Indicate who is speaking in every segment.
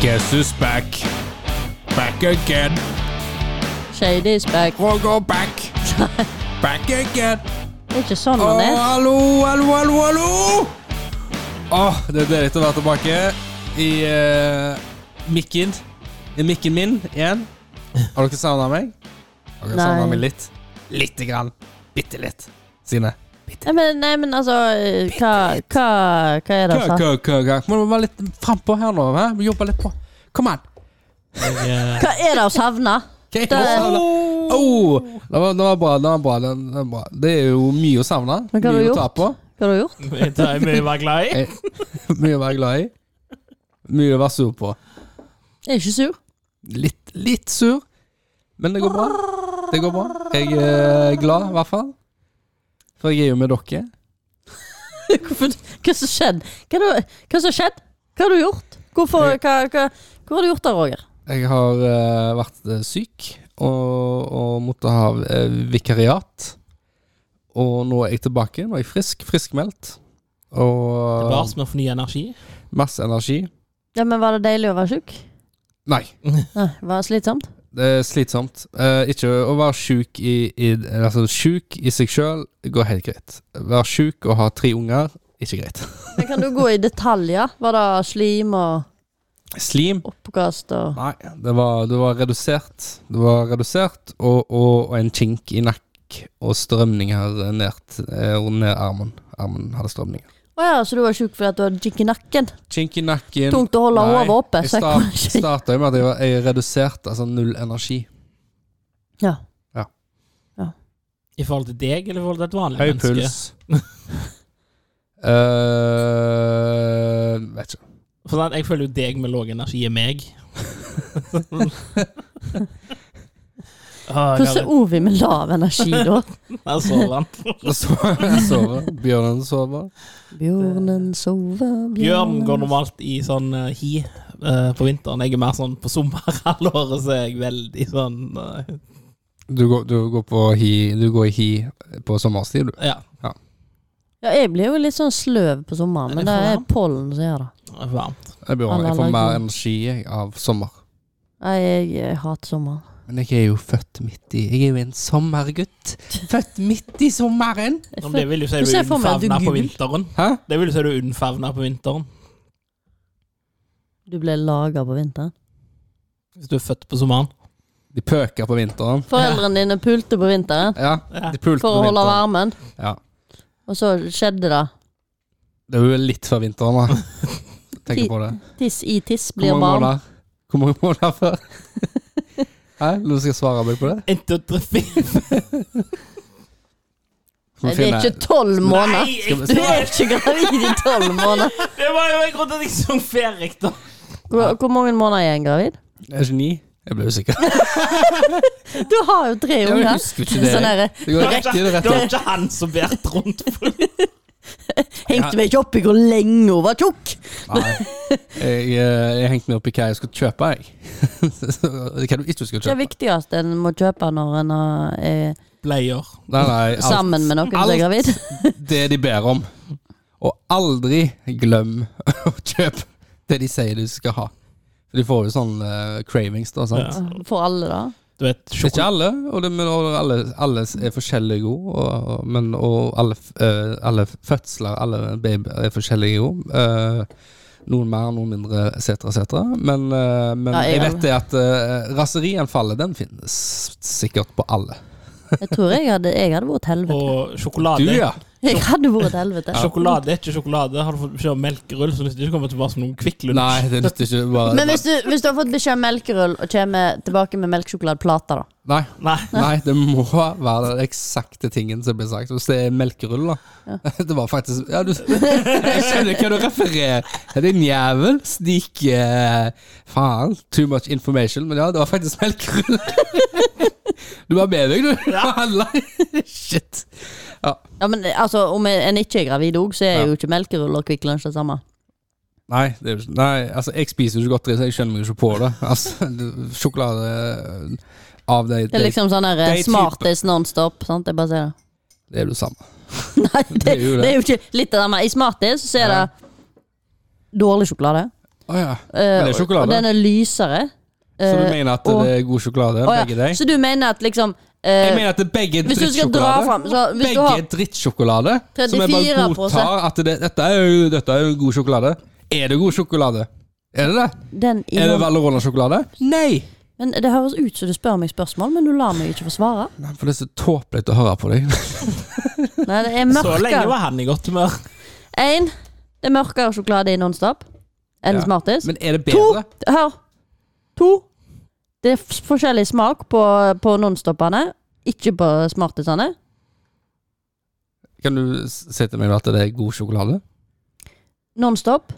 Speaker 1: Guess who's back? Back again.
Speaker 2: Shady is back.
Speaker 1: We'll go back. Back again.
Speaker 2: Det er ikke sånn
Speaker 1: Å,
Speaker 2: han er.
Speaker 1: hallo, hallo, hallo, hallo! Åh, det er deilig å være tilbake i eh, mikken. I mikken min igjen. Har dere savna meg? Har dere
Speaker 2: Nei.
Speaker 1: savna meg litt? Lite grann. Bitte litt. Sine.
Speaker 2: Nei, men, nei, men altså eh, Hva, hva, hva er det
Speaker 1: Kø,
Speaker 2: han sa?
Speaker 1: kø, kø, kø. Må du være litt frampå her nå. Hæ? Må Jobbe litt på. Kom an.
Speaker 2: Hva er det å savne?
Speaker 1: Okay.
Speaker 2: Det er-
Speaker 1: Oh, det, var, det var bra. Det var bra. Det, det var bra. det er jo mye å savne.
Speaker 2: Men hva har
Speaker 1: Mye
Speaker 2: du
Speaker 1: å ta på.
Speaker 2: Hva har du gjort?
Speaker 3: Det er mye å være glad i.
Speaker 1: Mye å være glad i. Mye å være sur på.
Speaker 2: Jeg er ikke sur.
Speaker 1: Litt, litt sur, men det går bra. Det går bra. Jeg eh, er glad, i hvert fall. For jeg er jo med dere.
Speaker 2: Hvorfor, hva som skjedde? Hva, du- hva som skjedde? Hva har du gjort? Hvorfor, hva, hva, hva har du gjort da, Roger?
Speaker 1: Jeg har eh, vært eh, syk og, og måtte ha eh, vikariat. Og nå er jeg tilbake. Nå er jeg frisk. Friskmeldt.
Speaker 3: Det er bare
Speaker 1: Og
Speaker 3: som å få ny energi.
Speaker 1: masse energi.
Speaker 2: Ja, men Var det deilig å være sjuk?
Speaker 1: Nei,
Speaker 2: Nei, var det slitsomt?
Speaker 1: det er slitsomt. Eh, ikke å være sjuk i, i Altså, sjuk i seg sjøl går helt greit. Være sjuk og ha tre unger, ikke greit.
Speaker 2: Men Kan du gå i detaljer? Var det slim og
Speaker 1: Slim
Speaker 2: oppkast og
Speaker 1: Nei, det var, det var redusert. Det var redusert og, og, og en kink i nakk og strømninger ned, t- eh, og ned armen. Armen hadde strømninger.
Speaker 2: Å ja, så du var sjuk fordi at du hadde jigg i nakken?
Speaker 1: Kink i nakken.
Speaker 2: Tungt å holde
Speaker 1: Nei,
Speaker 2: hodet oppe.
Speaker 1: Jeg
Speaker 2: Så jeg kan ikke
Speaker 1: starta jo med at jeg, var, jeg reduserte, altså null energi.
Speaker 2: Ja.
Speaker 3: I forhold til deg eller i forhold til et vanlig
Speaker 1: Høy
Speaker 3: menneske?
Speaker 1: puls. Eh, vet ikke.
Speaker 3: For sånn, jeg føler jo deg med lav energi er meg. ah,
Speaker 2: Hvordan er Ovi med lav energi, da?
Speaker 3: Hvordan
Speaker 1: Jeg sover. Jeg sover. Bjørnen sover.
Speaker 2: Bjørnen sover,
Speaker 3: Bjørn
Speaker 2: bjørnen
Speaker 3: går normalt i sånn eh, hi eh, på vinteren. Jeg er mer sånn på sommerhalvåret, så er jeg veldig sånn eh,
Speaker 1: Du går, du går på hi Du går i hi på sommerstid, du.
Speaker 3: Ja.
Speaker 2: Ja, jeg blir jo litt sånn sløv på sommeren, men
Speaker 3: Er det
Speaker 2: det
Speaker 3: for
Speaker 2: er
Speaker 3: varmt?
Speaker 2: pollen som gjør det.
Speaker 3: Varmt.
Speaker 1: Jeg, blir, jeg får
Speaker 2: Allergi.
Speaker 1: mer energi jeg, av sommer.
Speaker 2: Nei, jeg, jeg hater sommeren.
Speaker 1: Men jeg er jo født midt i Jeg er jo en sommergutt. Født midt i sommeren!
Speaker 2: Jeg
Speaker 3: Men det vil jo si
Speaker 2: Du
Speaker 3: du
Speaker 2: ser
Speaker 3: er
Speaker 2: for meg at du
Speaker 3: unnfavna på
Speaker 2: gul.
Speaker 3: vinteren.
Speaker 1: Hæ?
Speaker 3: Det vil jo si du er unnfavna på vinteren.
Speaker 2: føler Du ble laga på vinteren.
Speaker 3: Hvis du er født på sommeren.
Speaker 1: De pøker på vinteren.
Speaker 2: Foreldrene dine pulte på vinteren
Speaker 1: Ja,
Speaker 3: Ja.
Speaker 1: de pulte på
Speaker 2: for å holde
Speaker 1: vinteren.
Speaker 2: varmen,
Speaker 1: Ja.
Speaker 2: og så skjedde det.
Speaker 1: Det er jo litt før vinteren, da. Tenker på det.
Speaker 2: Tiss i tiss
Speaker 1: Hvor
Speaker 2: blir
Speaker 1: mange
Speaker 2: barn.
Speaker 1: måneder? Hvor mange måneder før? Hæ? Du skal svare meg på det?
Speaker 3: Inntil
Speaker 2: Nei, det er ikke tolv måneder.
Speaker 1: Skal vi
Speaker 2: Du er ikke gravid i tolv måneder.
Speaker 3: Det var jo Jeg trodde at jeg sang ferdig, da.
Speaker 2: Hvor, hvor mange måneder er en gravid?
Speaker 1: Er ikke ni? Jeg ble usikker.
Speaker 2: Du har jo tre
Speaker 1: Jeg
Speaker 2: unger.
Speaker 1: husker ikke det.
Speaker 2: Sånn derre
Speaker 1: Det går rett i det
Speaker 3: Det
Speaker 1: rett i.
Speaker 3: var ikke han som bærte rundt på det.
Speaker 2: Hengte meg ikke opp i hvor lenge hun var tjukk!
Speaker 1: Nei. Jeg, eh, jeg hengte meg opp i hva jeg skulle kjøpe, jeg. Hva du ikke skulle
Speaker 2: Det
Speaker 1: kjøpe.
Speaker 2: viktigste en må kjøpe når en er
Speaker 3: Bleier.
Speaker 1: Nei, nei, alt.
Speaker 2: sammen med noen som
Speaker 1: alt.
Speaker 2: er gravid.
Speaker 1: det de ber om. Og aldri glem å kjøpe det de sier du skal ha. For de får jo sånne eh, cravings, da. sant?
Speaker 3: Ja.
Speaker 2: For alle, da.
Speaker 3: Du vet,
Speaker 1: Det er
Speaker 3: sjoko-
Speaker 1: ikke alle, og det, men og alle, alle er forskjellige gode. Og, og- men, og alle, f- eh, alle fødsler, alle babyer er forskjellige gode. eh, noen mer, noen mindre, etc., etc. Men, eh, men
Speaker 2: Ja, jeg-
Speaker 1: jeg vet det at uh, raserianfallet, den finnes sikkert på alle.
Speaker 2: Jeg tror jeg hadde, jeg hadde vært helvete.
Speaker 3: og
Speaker 1: Du,
Speaker 3: sjokolade.
Speaker 1: ja.
Speaker 2: Jeg hadde vært helvete.
Speaker 3: Sjokolade er ikke sjokolade. Har du fått beskjed om melkerull, så nytter det ikke å komme tilbake som noen Kvikk Lunsj.
Speaker 1: Nei, det nytter ikke. Bare,
Speaker 2: Men hvis du, hvis du har fått beskjed om melkerull og kommer tilbake med melkesjokoladeplater, da?
Speaker 1: Nei.
Speaker 3: Nei.
Speaker 1: Nei, det må være den eksakte tingen som blir sagt. Hvis det er melkerull, da. Det var faktisk Ja, du Jeg skjønner hva du refererer. Din jævel. Snik eh, Faen. Too much information. Men ja, det var faktisk melkerull. Du var med meg, du.
Speaker 3: Ja.
Speaker 1: Handla. Shit.
Speaker 2: Ja, men altså, om en ikke er gravid òg, så er
Speaker 1: Ja.
Speaker 2: jo ikke melkerull og Kvikk Lunsj det samme.
Speaker 1: Nei, det er jo ikke, nei, altså jeg spiser jo ikke godteri, så jeg skjønner meg jo ikke på det. Altså, det- Sjokolade eh, av de,
Speaker 2: Det er liksom sånn her
Speaker 1: de
Speaker 2: eh,
Speaker 1: type-
Speaker 2: Smarties nonstop. Sant? Jeg bare sier det.
Speaker 1: det er jo det samme.
Speaker 2: Nei, det,
Speaker 1: er jo det.
Speaker 2: det er jo ikke litt av det, men i Smarties så er det dårlig sjokolade.
Speaker 1: Å ja.
Speaker 2: Eh,
Speaker 1: Men det er sjokolade.
Speaker 2: Og den er lysere.
Speaker 1: Så du
Speaker 2: Eh,
Speaker 1: mener at
Speaker 2: og-
Speaker 1: det er god sjokolade,
Speaker 2: å ja,
Speaker 1: begge deg?
Speaker 2: Så du mener at liksom eh,
Speaker 1: Jeg mener at det er begge
Speaker 2: Hvis du skal dra
Speaker 1: drittsjokolade.
Speaker 2: fram så hvis du
Speaker 1: Begge
Speaker 2: har,
Speaker 1: er drittsjokolade. Som jeg bare
Speaker 2: 34%
Speaker 1: godtar at det, dette, er jo, dette er jo god sjokolade. Er det god sjokolade? Er det det?
Speaker 2: den i
Speaker 1: Er det
Speaker 2: hånden-
Speaker 1: Valerona-sjokolade? Nei!
Speaker 2: Men Det høres ut som du spør meg spørsmål, men du lar meg ikke få svare.
Speaker 1: Nei, For det er så tåpelig å høre på deg.
Speaker 2: Nei, det er
Speaker 3: Så lenge
Speaker 2: mørkere.
Speaker 3: var han i godt humør.
Speaker 2: En, det er mørkere sjokolade i Nonstop enn
Speaker 1: Ja.
Speaker 2: Smarties.
Speaker 1: Men er det bedre?
Speaker 2: Hør. To. Det er f- forskjellig smak på, på Nonstopene, ikke på Smartisene.
Speaker 1: Kan du s- si til meg at det er god sjokolade?
Speaker 2: Nonstop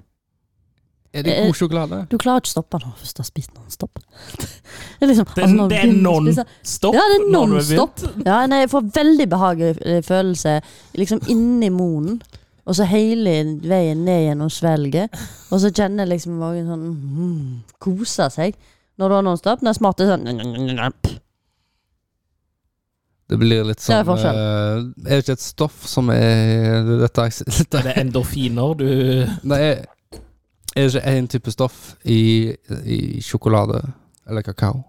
Speaker 1: Er det
Speaker 2: Eh,
Speaker 1: god sjokolade?
Speaker 2: Du klarer ikke å stoppe når du først har spist Nonstop. det er liksom
Speaker 3: Det,
Speaker 2: altså, når du
Speaker 3: det er
Speaker 2: begynner å spise-
Speaker 3: non-stop.
Speaker 2: Ja, det er
Speaker 3: når vi har
Speaker 2: non-stop.
Speaker 3: begynt.
Speaker 2: Ja, nei, jeg får veldig behagelig eh, følelse liksom inni munnen. Og så hele veien ned gjennom svelget. Og så kjenner jeg liksom magen sånn mm, Koser seg. Når du har Nonstop. Når smart er sånn
Speaker 1: Det blir litt sånn
Speaker 2: Det er forskjell.
Speaker 1: eh, Er det ikke et stoff som er Dette, dette
Speaker 3: Er det endorfiner du
Speaker 1: Nei, er er det ikke én type stoff i, i sjokolade eller kakao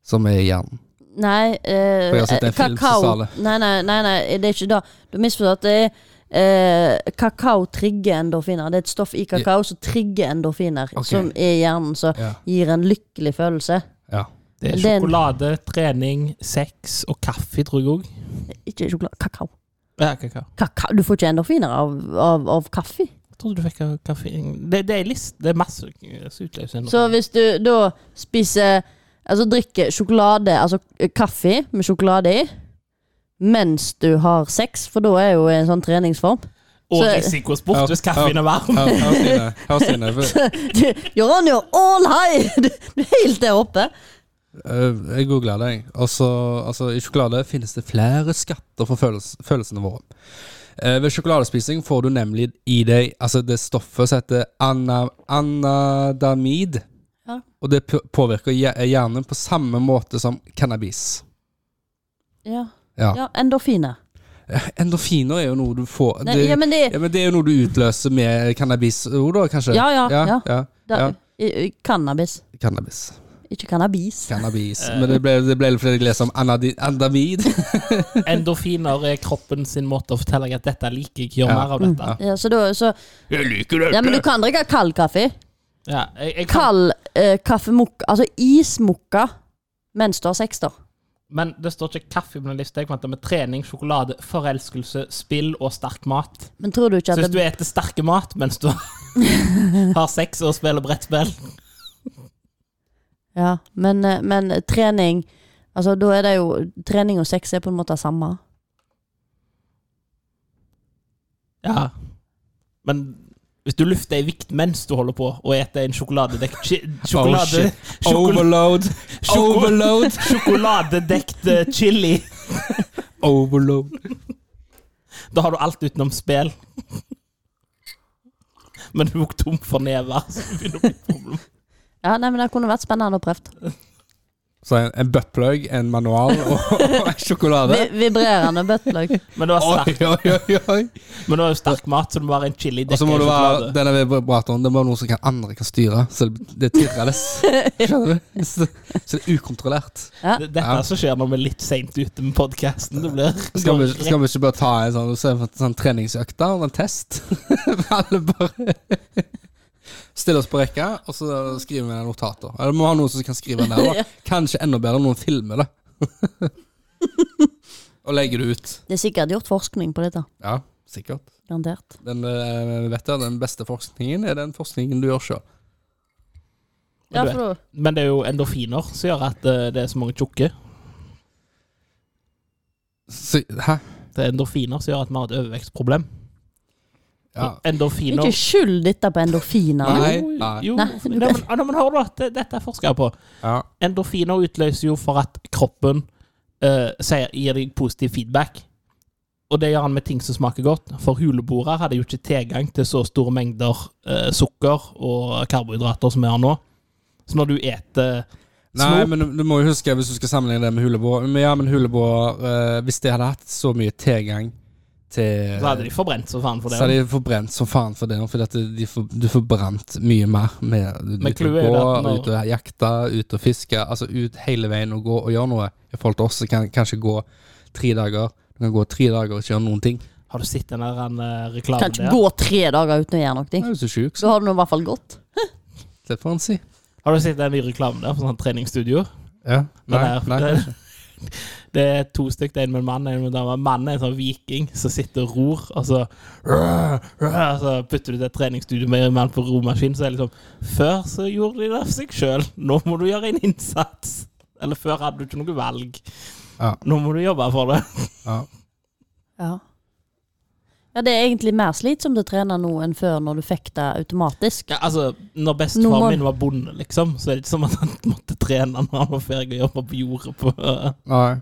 Speaker 1: som er i hjernen?
Speaker 2: Nei, eh,
Speaker 1: For jeg har sett en
Speaker 2: eh,
Speaker 1: film som sa det.
Speaker 2: Nei, nei, nei, nei, det er ikke det. Du har misforstått. Det er Eh, kakao trigger endorfiner. Det er et stoff i kakao som trigger endorfiner.
Speaker 1: Ok.
Speaker 2: Som er i hjernen, som
Speaker 1: Ja.
Speaker 2: gir en lykkelig følelse.
Speaker 1: ja.
Speaker 3: Det er
Speaker 2: Det er en-
Speaker 3: sjokolade, trening, sex og kaffe, tror jeg òg.
Speaker 2: Ikke sjokolade, kakao.
Speaker 3: Ja, kakao.
Speaker 2: kakao. Du får ikke endorfiner av, av, av kaffe.
Speaker 3: Jeg trodde du fikk av kaffein. Det, det er list. Det er masse eh, som utløser endorfiner.
Speaker 2: Så hvis du da spiser Altså drikker sjokolade, altså eh, kaffe med sjokolade i, mens du har sex, for da er jo en sånn treningsform
Speaker 3: Og
Speaker 2: så-
Speaker 1: Ja,
Speaker 3: risikosport hvis kaffen
Speaker 1: ja.
Speaker 3: er varm.
Speaker 1: Her, her, Stine, her, Stine. for,
Speaker 2: Du, You're on your all high! Du, du er helt der oppe.
Speaker 1: eh, Jeg googla det, jeg. Og så- altså, I sjokolade finnes det flere skatter for følels følelsene våre. Eh, ved sjokoladespising får du nemlig i deg altså det stoffet som heter ana anadamid.
Speaker 2: Ja.
Speaker 1: Og det p- påvirker hjer- hjernen på samme måte som cannabis.
Speaker 2: Ja,
Speaker 1: Ja.
Speaker 2: ja endorfiner.
Speaker 1: Endorfiner er jo noe du får
Speaker 2: Nei,
Speaker 1: det-
Speaker 2: ja, men det
Speaker 1: Ja, men Det er jo noe du utløser med cannabis òg, da, kanskje?
Speaker 2: Ja, ja, ja.
Speaker 1: ja,
Speaker 2: da,
Speaker 1: ja.
Speaker 2: i- i- Cannabis.
Speaker 1: Cannabis.
Speaker 2: Ikke cannabis.
Speaker 1: Cannabis. Men det ble, det ble litt fordi jeg leste om anadi- andamid.
Speaker 3: Endorfiner er kroppen sin måte å fortelle deg at dette liker jeg, gjør
Speaker 1: Ja.
Speaker 3: mer av dette.
Speaker 1: Ja.
Speaker 2: Ja, så da, så,
Speaker 3: Jeg liker
Speaker 2: ja, men du kan drikke kald kaffe.
Speaker 3: Ja, jeg, jeg kan,
Speaker 2: Kald eh, kaffemokka, altså ismokka, mens du har sex, da.
Speaker 3: men det står ikke kaffe på den lista. Jeg fant det med trening, sjokolade, forelskelse, spill og sterk mat.
Speaker 2: Men tror du ikke at
Speaker 3: Så hvis du
Speaker 2: det,
Speaker 3: eter sterke mat mens du har sex og spiller brettspill
Speaker 2: ja, men, eh, men trening Altså, da er det jo Trening og sex er på en måte samme.
Speaker 3: Ja. Men hvis du lufter ei vikt mens du holder på og eter en sjokoladedekt chi- sjokolade,
Speaker 1: Oh, shit. Overload.
Speaker 3: Sjoko-
Speaker 1: Overload.
Speaker 3: Sjokoladedekt eh, chili,
Speaker 1: Overload.
Speaker 3: da har du alt utenom spill. Men du er også tom for never. så det begynner å bli problem.
Speaker 2: Ja, nei, men Det kunne vært spennende å prøve.
Speaker 1: Så en, en buttplug, en manual og, og en sjokolade.
Speaker 2: Vi- Vibrerende buttplug.
Speaker 3: Men det var
Speaker 1: Oi,
Speaker 3: sterk,
Speaker 1: oi, oi, oi.
Speaker 3: men det var jo sterk mat, så det må være en chili
Speaker 1: Og så
Speaker 3: dekket
Speaker 1: må
Speaker 3: i
Speaker 1: det være
Speaker 3: sjokolade.
Speaker 1: denne vibratoren Det må være noe som kan, andre kan styre. Så det det tirrades. Skjønner du? Så så det er ukontrollert.
Speaker 3: Det- Dette er som skjer når vi er litt seint ute med podkasten. Det blir
Speaker 1: Skal vi, skal vi ikke bare ta en sånn, så en sånn treningsøkt da, og en test? Alle bare Stille oss på rekka, og så skriver vi ned notater. Eller vi må ha noen som kan skrive ned. da. Kanskje enda bedre om noen filmer det. og legger det ut.
Speaker 2: Det er sikkert gjort forskning på dette.
Speaker 1: Ja, sikkert.
Speaker 2: Garantert.
Speaker 1: Den, eh, vet jeg, den beste forskningen er den forskningen du gjør sjøl.
Speaker 2: Ja,
Speaker 3: Men du
Speaker 2: for da
Speaker 3: Men det er jo endorfiner som gjør at eh, det er så mange tjukke.
Speaker 1: Hæ?
Speaker 3: Det er endorfiner som gjør at vi har et overvekstproblem.
Speaker 1: Ja.
Speaker 3: Endorfiner
Speaker 2: Ikke skyld dette på endorfiner.
Speaker 1: Nei.
Speaker 3: Jo,
Speaker 1: Nei.
Speaker 3: jo.
Speaker 2: Nei.
Speaker 3: Nei, men, ah, nei, men hør da, det, dette er forska på.
Speaker 1: ja.
Speaker 3: Endorfiner utløser jo for at kroppen eh, sier, gir deg positiv feedback. Og det gjør han med ting som smaker godt. For huleboere hadde jo ikke tilgang til så store mengder eh, sukker og karbohydrater som vi har nå. Så når du eter
Speaker 1: Nei,
Speaker 3: Snop.
Speaker 1: men du, du må jo huske hvis du skal sammenligne det med huleboer men Ja, men huleboer eh, Hvis de hadde hatt så mye tilgang til
Speaker 3: Så hadde de forbrent så faen for
Speaker 1: så er
Speaker 3: det.
Speaker 1: de forbrent som faen for det nå, fordi at de får, du får brent mye mer med du, du
Speaker 3: Men
Speaker 1: kan
Speaker 3: clouet er
Speaker 1: gå,
Speaker 3: det at når-
Speaker 1: ut og jakte, ut og fiske, altså ut hele veien og gå og gjøre noe. I forhold til oss så kan kanskje gå tre dager. Du kan gå tre dager og ikke gjøre noen ting.
Speaker 3: Har du sett den der eh,
Speaker 2: Kan
Speaker 3: reklamen
Speaker 2: ikke
Speaker 3: der?
Speaker 2: gå tre dager uten å gjøre
Speaker 1: Du
Speaker 2: noe.
Speaker 1: er jo så sjuk, så
Speaker 2: Så har du nå i hvert fall gått.
Speaker 1: det får en si.
Speaker 3: Har du sett den nye reklamen der for sånn treningsstudio?
Speaker 1: Ja. Nei,
Speaker 3: Den
Speaker 1: nei,
Speaker 3: der.
Speaker 1: kanskje.
Speaker 3: Det er to stykker, en med en mann og en med en dame. Mannen er en sånn viking som sitter og ror, og så, og så putter du til et treningsstudio med en mann på romaskin. Så er det liksom Før så gjorde de det for seg sjøl, nå må du gjøre en innsats. Eller før hadde du ikke noe valg.
Speaker 1: Ja.
Speaker 3: Nå må du jobbe for det.
Speaker 1: Ja.
Speaker 2: Ja. ja, det er egentlig mer slitsomt å trene nå enn før, når du fikk det automatisk.
Speaker 3: Ja, altså, når
Speaker 2: Nå
Speaker 3: bestefaren
Speaker 2: må-
Speaker 3: min var bonde, liksom, så er det ikke som at han måtte trene når han var ferdig og jobbe på jordet på
Speaker 1: Nei.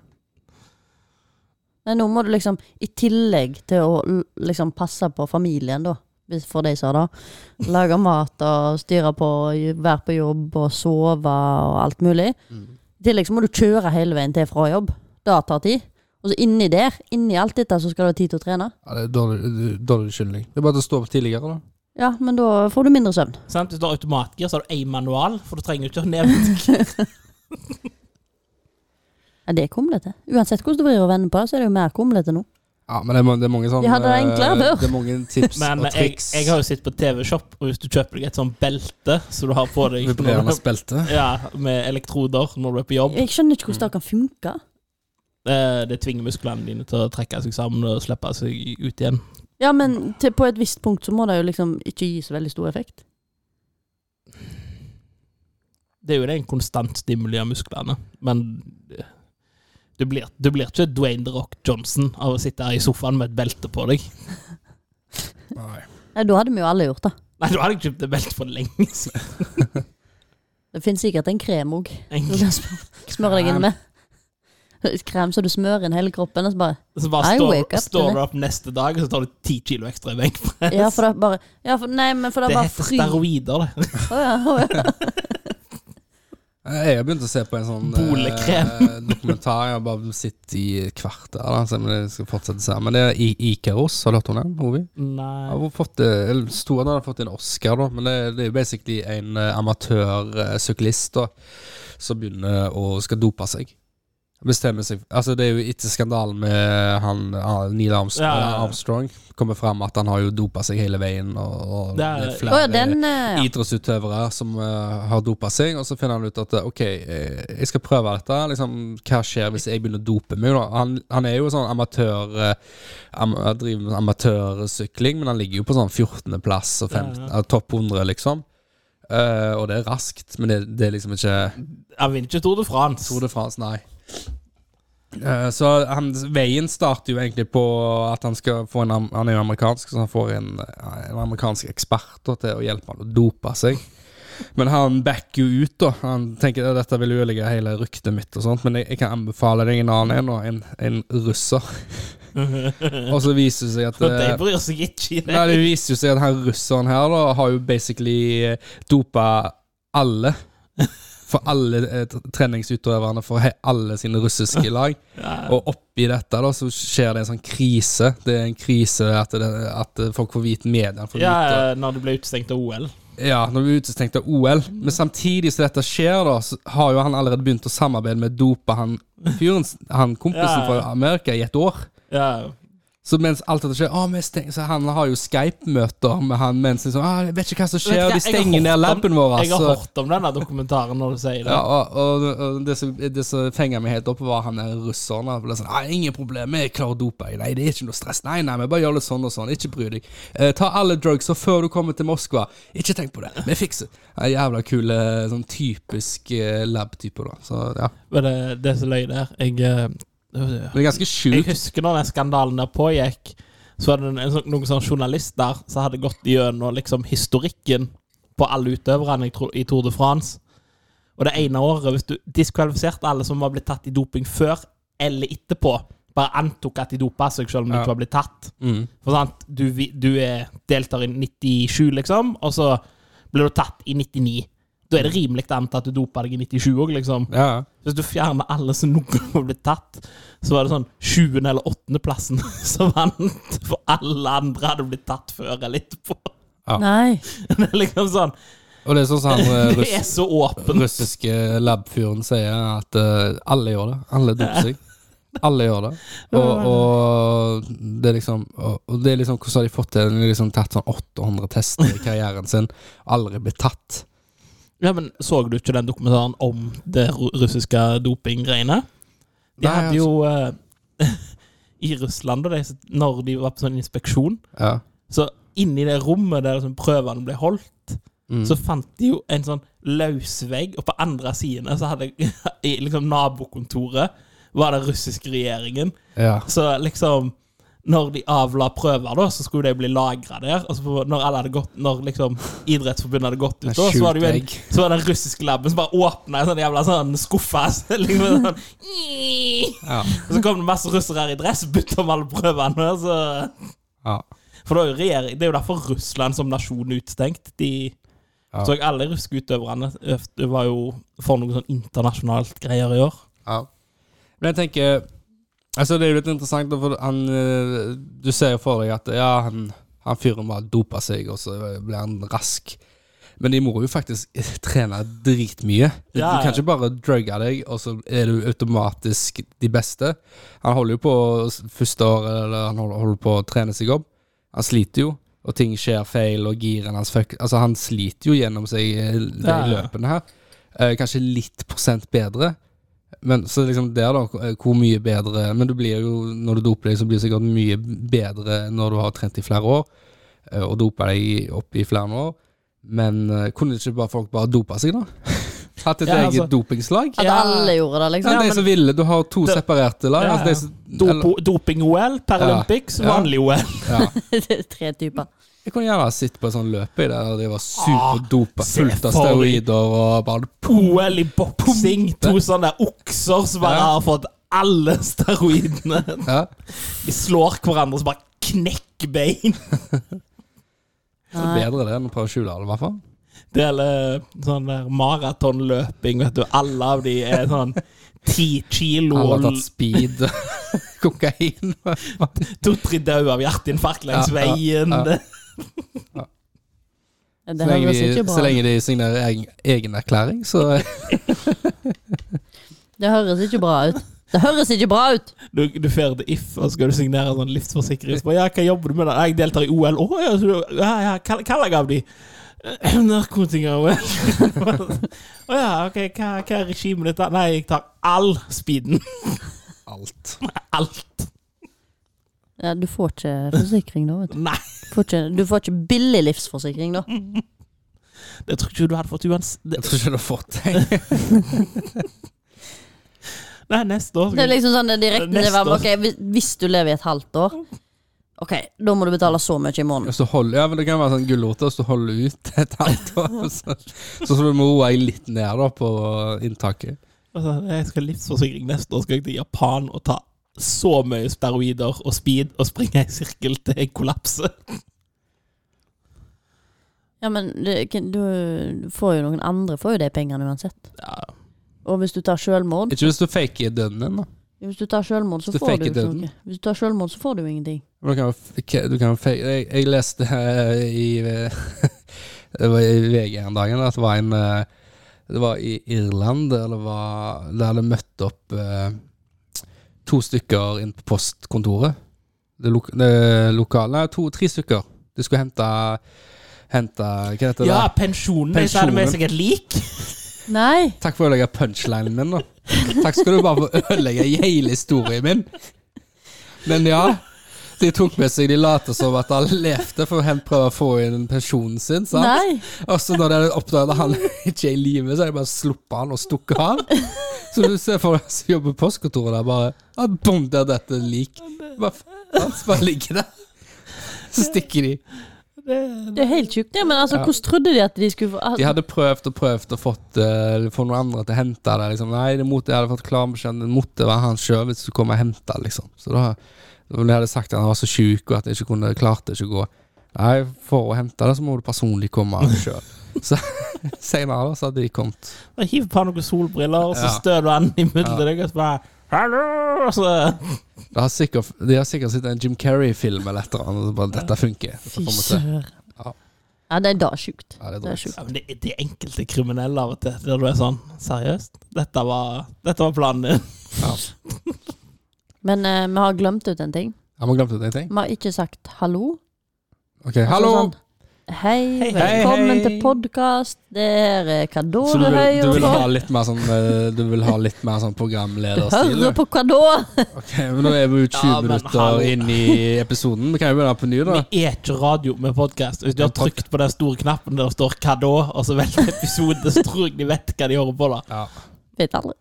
Speaker 2: Nei, nå må du liksom, i tillegg til å l- liksom passe på familien, da, hvis- for de som har det, lage mat og styre på, j- være på jobb og sove og alt mulig. I tillegg så må du kjøre hele veien til fra jobb. Det tar tid. Og så inni der, inni alt dette, så skal du ha tid til å trene.
Speaker 1: Ja, det er dårlig, dårlig skyldning. Det er bare til å stå opp tidligere, da.
Speaker 2: Ja, men da får du mindre søvn.
Speaker 3: sant? Hvis du har automatgir, så har du én manual, for du trenger jo ikke å nevne
Speaker 2: Ja, det er kumlete. Uansett hvordan du vrir og vender på det, så er det jo mer kumlete nå.
Speaker 1: Ja, men det er, ma- det er mange sånne
Speaker 2: Vi hadde det enklere
Speaker 1: eh,
Speaker 2: før.
Speaker 1: Det er mange tips
Speaker 3: Men
Speaker 1: og
Speaker 3: jeg,
Speaker 1: triks.
Speaker 3: jeg har jo sett på TV-shop, og hvis du kjøper deg et sånt belte så du har på deg når
Speaker 1: Vibrerende
Speaker 3: du,
Speaker 1: belte.
Speaker 3: ja, med elektroder når du er på jobb,
Speaker 2: Jeg skjønner ikke hvordan det kan funke.
Speaker 3: eh, det tvinger musklene dine til å trekke seg sammen og slippe seg ut igjen.
Speaker 2: Ja, men til, på et visst punkt så må det jo liksom ikke gi så veldig stor effekt.
Speaker 3: Det er jo det en konstant stimuli av musklene, men du blir, du blir ikke Dwayne The Rock Johnson av å sitte her i sofaen med et belte på deg.
Speaker 1: Nei.
Speaker 2: Nei, da hadde vi jo alle gjort det.
Speaker 3: Nei, du hadde jeg kjøpt et belte for lenge siden.
Speaker 2: Det finnes sikkert en krem òg. Du
Speaker 3: En-
Speaker 2: kan sm- smøre deg inn med. Krem så du smører inn hele kroppen, og så bare
Speaker 3: Så
Speaker 2: I
Speaker 3: bare
Speaker 2: wake
Speaker 3: står,
Speaker 2: up
Speaker 3: står
Speaker 2: to
Speaker 3: du opp neste dag, og så tar du ti kilo ekstra i benkpress.
Speaker 2: Ja, for det bare ja, for, Nei, men for det
Speaker 3: det
Speaker 2: bare
Speaker 3: heter
Speaker 2: fri.
Speaker 3: steroider, det.
Speaker 2: Å ja, å ja.
Speaker 1: Eh, Jeg har begynt å se på en sånn eh,
Speaker 3: Bolekrem.
Speaker 1: dokumentar. Jeg har bare sittet i et kvarter. Da, så jeg skal fortsette å se. Men det er I Ikaros. Har du hørt om den? Ovi?
Speaker 3: Nei.
Speaker 1: Ja, hun har fått, eh, eller Storen har fått en Oscar, da, men det, det er jo basically en eh, amatør eh, syklist da, som begynner å skal dope seg. Bestemmer seg Altså Det er jo etter skandalen med han, ah, Neil Armstrong,
Speaker 3: Ja, ja, ja.
Speaker 1: Armstrong. Kommer fram at han har jo dopa seg hele veien. Og, og
Speaker 3: Det er-
Speaker 2: Å ja, den eh, ja.
Speaker 1: idrettsutøvere som eh, har dopa seg, og så finner han ut at eh, OK, eh, jeg skal prøve dette. Liksom, hva skjer hvis jeg begynner å dope meg? da? Han, han er jo sånn amatør eh, am han driver med amatørsykling, men han ligger jo på sånn 14.-plass og 15,
Speaker 3: Ja,
Speaker 1: eh, topp 100, liksom. Eh, og det er raskt, men det, det er liksom ikke
Speaker 3: Han vinner ikke Tour de France.
Speaker 1: Tour de France, nei. Eh, Så han, veien starter jo egentlig på at han skal få en am- Han er jo amerikansk, så han får en, eh, en amerikansk ekspert da, til å hjelpe han å dope seg. Men han backer jo ut, da. Han tenker at dette vil ødelegge hele ryktet mitt, og sånt men jeg, jeg kan anbefale deg en annen en, og en, en russer. Og så viser det seg at
Speaker 3: Så de
Speaker 1: eh,
Speaker 3: bryr seg ikke i det.
Speaker 1: Nei, Det viser jo seg at han russeren her da, har jo basically eh, dopa alle. For alle eh, t- treningsutøverne for he- alle sine russiske lag. Og oppi dette da, så skjer det en sånn krise. Det er en krise at, det, at folk får vite mediene. får
Speaker 3: Ja,
Speaker 1: vite-
Speaker 3: eh, når du ble utestengt av OL.
Speaker 1: ja, når vi er utestengt av OL. Men samtidig som dette skjer, da, så har jo han allerede begynt å samarbeide med dopa han fyren, han kompisen
Speaker 3: Ja.
Speaker 1: fra Amerika, i et år.
Speaker 3: Ja.
Speaker 1: Så mens alt dette skjer «Å, vi stenger, Så han har jo Skype-møter med han mens liksom, «Å, Jeg vet ikke hva som
Speaker 3: Vet du
Speaker 1: skjer, de
Speaker 3: hva, jeg har
Speaker 1: stenger ned
Speaker 3: hørt om-
Speaker 1: laben vår.
Speaker 3: Jeg har
Speaker 1: altså.»
Speaker 3: hørt om denne dokumentaren når du sier det.
Speaker 1: Ja, og, og, og det som, det som fenga meg helt opp, var han der russeren. Han ble sånn, «Nei, 'Ingen problem, vi klarer å dope deg.' 'Nei, det er ikke noe stress.' 'Nei, nei, vi bare gjør litt sånn og sånn. Ikke bry deg.' Eh, 'Ta alle drugs og før du kommer til Moskva.' 'Ikke tenk på det. Vi fikser det.' Ja, Jævla kul, eh, sånn typisk eh, lab-type, da. Så ja.
Speaker 3: Men det, det som løy der jeg, eh,
Speaker 1: Det er ganske
Speaker 3: jeg
Speaker 1: sjukt.
Speaker 3: husker når den skandalen der pågikk, så var det en, en, sånn- noen sånne journalister som hadde gått gjennom liksom, historikken på alle utøverne i Tro- i Tour de France. Og det ene året, hvis du diskvalifiserte alle som var blitt tatt i doping før eller etterpå, bare antok at de dopa seg selv om de
Speaker 1: Ja.
Speaker 3: ikke var blitt tatt.
Speaker 1: Mm.
Speaker 3: For sant, du, vi- du er deltar i 97, liksom, og så blir du tatt i 99. Da er det rimelig å anta at du dopa deg i 97 òg, liksom.
Speaker 1: Ja.
Speaker 3: Hvis du fjerner alle som noen har blitt tatt, så var det sånn 20. eller 8. plassen som vant, for alle andre hadde blitt tatt før eller etterpå.
Speaker 1: Ja.
Speaker 2: Nei.
Speaker 3: Det er liksom sånn
Speaker 1: Og det er sånn som han eh,
Speaker 3: Det
Speaker 1: russ,
Speaker 3: er så åpent.
Speaker 1: russiske labfyren sier, at eh, alle gjør det. Alle doper seg. Alle gjør det. Og, og det er liksom og, og det er liksom Hvordan har de fått til det? De har liksom tatt sånn 800 tester i karrieren sin, aldri blitt tatt.
Speaker 3: Ja, men Så du ikke den dokumentaren om det ru- russiske dopinggreiene? De
Speaker 1: Nei,
Speaker 3: hadde jo eh, I Russland, da, de, når de var på sånn inspeksjon,
Speaker 1: Ja.
Speaker 3: så inni det rommet der sånn, prøvene ble holdt,
Speaker 1: Mm.
Speaker 3: så fant de jo en sånn løsvegg, og på andre siden så hadde i liksom nabokontoret var den russiske regjeringen.
Speaker 1: ja.
Speaker 3: Så liksom når de avla prøver, da, så skulle de bli lagra der. Og så på- når, alle hadde gått, når liksom Idrettsforbundet hadde gått ut, da, så var det jo en,
Speaker 1: Skjult egg.
Speaker 3: så var det den russiske laben som bare åpna en sånn jævla sånn skuffe. så Liksom, sånn,
Speaker 1: Ja.
Speaker 3: og så kom det masse russere her i dress, bytta om alle prøvene. og Så
Speaker 1: ja.
Speaker 3: for det er, jo regjering, det er jo derfor Russland som nasjon er utestengt. De
Speaker 1: Ja.
Speaker 3: så jeg alle russiske utøverne øvd- det var jo for noe sånn internasjonalt greier i år.
Speaker 1: Ja. Men jeg tenker Altså, det er jo litt interessant, da, for han eh, Du ser jo for deg at ja, han, han fyren bare dopa seg, og så ble han rask. Men de må jo faktisk trene dritmye. Du,
Speaker 3: Ja,
Speaker 1: du kan
Speaker 3: ja.
Speaker 1: ikke bare drugge deg, og så er du automatisk de beste. Han holder jo på s- første året, eller han holder, holder på å trene seg opp. Han sliter jo, og ting skjer feil, og giren hans fuck Altså, han sliter jo gjennom seg eh, de
Speaker 3: Ja, ja.
Speaker 1: løpene her. Eh, kanskje litt prosent bedre. Men så liksom der, da, eh, hvor mye bedre Men du blir jo, når du doper deg, så blir du sikkert mye bedre når du har trent i flere år, eh, og dopa deg opp i flere år. Men eh, kunne ikke bare folk bare dopa seg, da? Hatt et
Speaker 3: Ja, altså-
Speaker 1: eget dopingslag?
Speaker 2: At
Speaker 3: Ja.
Speaker 2: alle gjorde det, liksom.
Speaker 1: Ja, de som ville. Du har to
Speaker 3: Det-
Speaker 1: separerte lag.
Speaker 3: Ja,
Speaker 1: altså de
Speaker 3: ja.
Speaker 1: som, eller,
Speaker 3: Dopo- Doping-OL, Paralympics,
Speaker 1: Ja. Ja.
Speaker 3: vanlig OL.
Speaker 1: ja.
Speaker 2: Det er Tre typer.
Speaker 1: Jeg kunne gjerne ha sittet på en sånn løpe i det, og de var superdopa,
Speaker 3: Ah, se
Speaker 1: fullt av
Speaker 3: for deg.
Speaker 1: steroider og bare
Speaker 3: OL i boksing. To sånne okser som bare
Speaker 1: Ja.
Speaker 3: har fått alle steroidene.
Speaker 1: ja.
Speaker 3: De slår hverandre som bare knekker bein.
Speaker 1: Så
Speaker 2: Nei.
Speaker 1: bedre det enn å prøve å skjule det, i hvert fall.
Speaker 3: Det gjelder sånn der maratonløping, vet du. Alle av de er sånn ti kilo
Speaker 1: Alle har
Speaker 3: og
Speaker 1: tatt speed, kokain
Speaker 3: to-tre døde av hjerteinfarkt langs
Speaker 1: Ja, ja,
Speaker 3: veien.
Speaker 1: ja.
Speaker 3: Det-
Speaker 2: Det
Speaker 1: Så lenge,
Speaker 2: høres
Speaker 1: de,
Speaker 2: ikke
Speaker 1: så
Speaker 2: bra ut.
Speaker 1: lenge de signerer egen, egen erklæring, så
Speaker 2: Det høres ikke bra ut. Det høres ikke bra ut!
Speaker 3: Du, du fer til If, og så skal du signere sånn livsforsikring. Så bare, ja, hva jobber du med? da? «Nei, Jeg deltar i OL. Å ja, så du, ja, ja, hva hva legger jeg av de? «Eh, Narkotika-OL. Å ja, ok, hva, hva er regimet ditt? da?» Nei, jeg tar all speeden.
Speaker 1: Alt.
Speaker 3: Alt.
Speaker 2: Ja, du får ikke forsikring da, vet du.
Speaker 3: Nei,
Speaker 2: Får ikke, du får ikke billig livsforsikring da.
Speaker 3: det tror jeg ikke du hadde fått uansett.
Speaker 1: Jeg tror ikke du har fått det.
Speaker 3: Nei, neste år.
Speaker 2: Det er liksom sånn det er direkte det var,
Speaker 3: Neste år.
Speaker 2: ok, hvis- Hvis du lever i et halvt år, Ok, da må du betale så mye i måneden.
Speaker 1: Og så hold, ja, men det kan være sånn gulrot, og så holde ut et halvt år. og Så, så, så du må roe deg litt ned da på inntaket.
Speaker 3: Altså, jeg skal ha livsforsikring neste år, skal jeg til Japan og ta så mye steroider og speed og springe i sirkel til jeg kollapser.
Speaker 2: Ja, men det, kan- du får jo noen andre får jo de pengene uansett.
Speaker 3: Ja,
Speaker 2: Og hvis du tar selvmord
Speaker 1: Ikke hvis du faker døden din, da.
Speaker 2: Hvis du tar selvmord, så
Speaker 1: Hvis du
Speaker 2: får du
Speaker 1: faker
Speaker 2: jo ikke
Speaker 1: døden.
Speaker 2: noe. Hvis du tar selvmord, så får du jo ingenting.
Speaker 1: Men Du kan, jo f- du kan fake jeg, jeg leste eh, i Det var i VG en dag at det var en eh, Det var i Irland der det var Der det møtte opp eh, to stykker inn på postkontoret. Det, lok det lokale Nei, to, tre stykker. De skulle hente Hente Hva heter det?
Speaker 3: ja pensjonen. Jeg tar det med
Speaker 1: Pensjonen.
Speaker 3: seg et lik.
Speaker 2: Nei!
Speaker 1: Takk for å ødelegge punchlinen min, da. Takk skal du bare for å ødelegge hele historien min. Men ja, de tok med seg De later som at han levde, for å prøve å få inn pensjonen sin. Sant?
Speaker 2: Nei!
Speaker 1: Og så når de oppdaget at han ikke er i live, så har de bare sluppet han og stukket av. Så du ser for deg som jobber på postkontoret der, bare ja, Bom, der dette er lik. Bare, faen, så bare ligger der. Så stikker de.
Speaker 2: Det er helt sjukt, det. Men altså, hvordan trodde de at de skulle få Altså,
Speaker 1: De hadde prøvd og prøvd og fått eh, få noen andre til å hente det. Liksom. Nei, det måtte, jeg hadde fått klar beskjed om det måtte være han sjøl hvis du kom og hente det. Liksom. Så da når de hadde sagt at han var så sjuk og at jeg ikke kunne klarte ikke å gå Nei, for å hente det, så må du personlig komme sjøl. Så senere da, så hadde de kommet.
Speaker 3: Og hiv på noen solbriller, og
Speaker 1: Ja.
Speaker 3: så støter han imellom deg, og så bare Hallo! Og så
Speaker 1: De har sikkert, de har sikkert sett en Jim Carrey-film eller et eller annet, og så bare dette funker. Så
Speaker 2: Fy
Speaker 1: får vi se.
Speaker 2: søren.
Speaker 1: Ja.
Speaker 2: Ja, det er da sjukt.
Speaker 1: Ja, det er
Speaker 2: Det er
Speaker 1: drøyt.
Speaker 2: sjukt.
Speaker 3: ja, men det, det er enkelte kriminelle av og til der du er sånn Seriøst? Dette var, dette var planen din?
Speaker 1: Ja.
Speaker 2: Men eh, vi har glemt ut en ting.
Speaker 1: Har vi glemt ut en ting?
Speaker 2: Vi har ikke sagt hallo.
Speaker 1: Ok, hallo!
Speaker 2: Altså sånn, hei,
Speaker 3: Hei, hei,
Speaker 2: velkommen
Speaker 3: hei.
Speaker 2: til podkast. Det er eh, hva da
Speaker 1: Så
Speaker 2: du
Speaker 1: du vil, du
Speaker 2: hører
Speaker 1: vil
Speaker 2: på?
Speaker 1: ha litt mer sånn, eh, du vil ha litt mer sånn
Speaker 2: Du
Speaker 1: programlederstil?
Speaker 2: hører
Speaker 1: du?
Speaker 2: på hva da?
Speaker 1: Ok, men nå er vi jo 20
Speaker 3: Ja, men hallo.
Speaker 1: minutter inn i episoden. Vi kan jo begynne på ny, da.
Speaker 3: Vi er ikke radio med podkast. Hvis du har trykt på den store knappen der det står 'hva da', og så velger episode, så tror jeg de vet hva de holder på da.
Speaker 1: Ja.
Speaker 2: Vet aldri.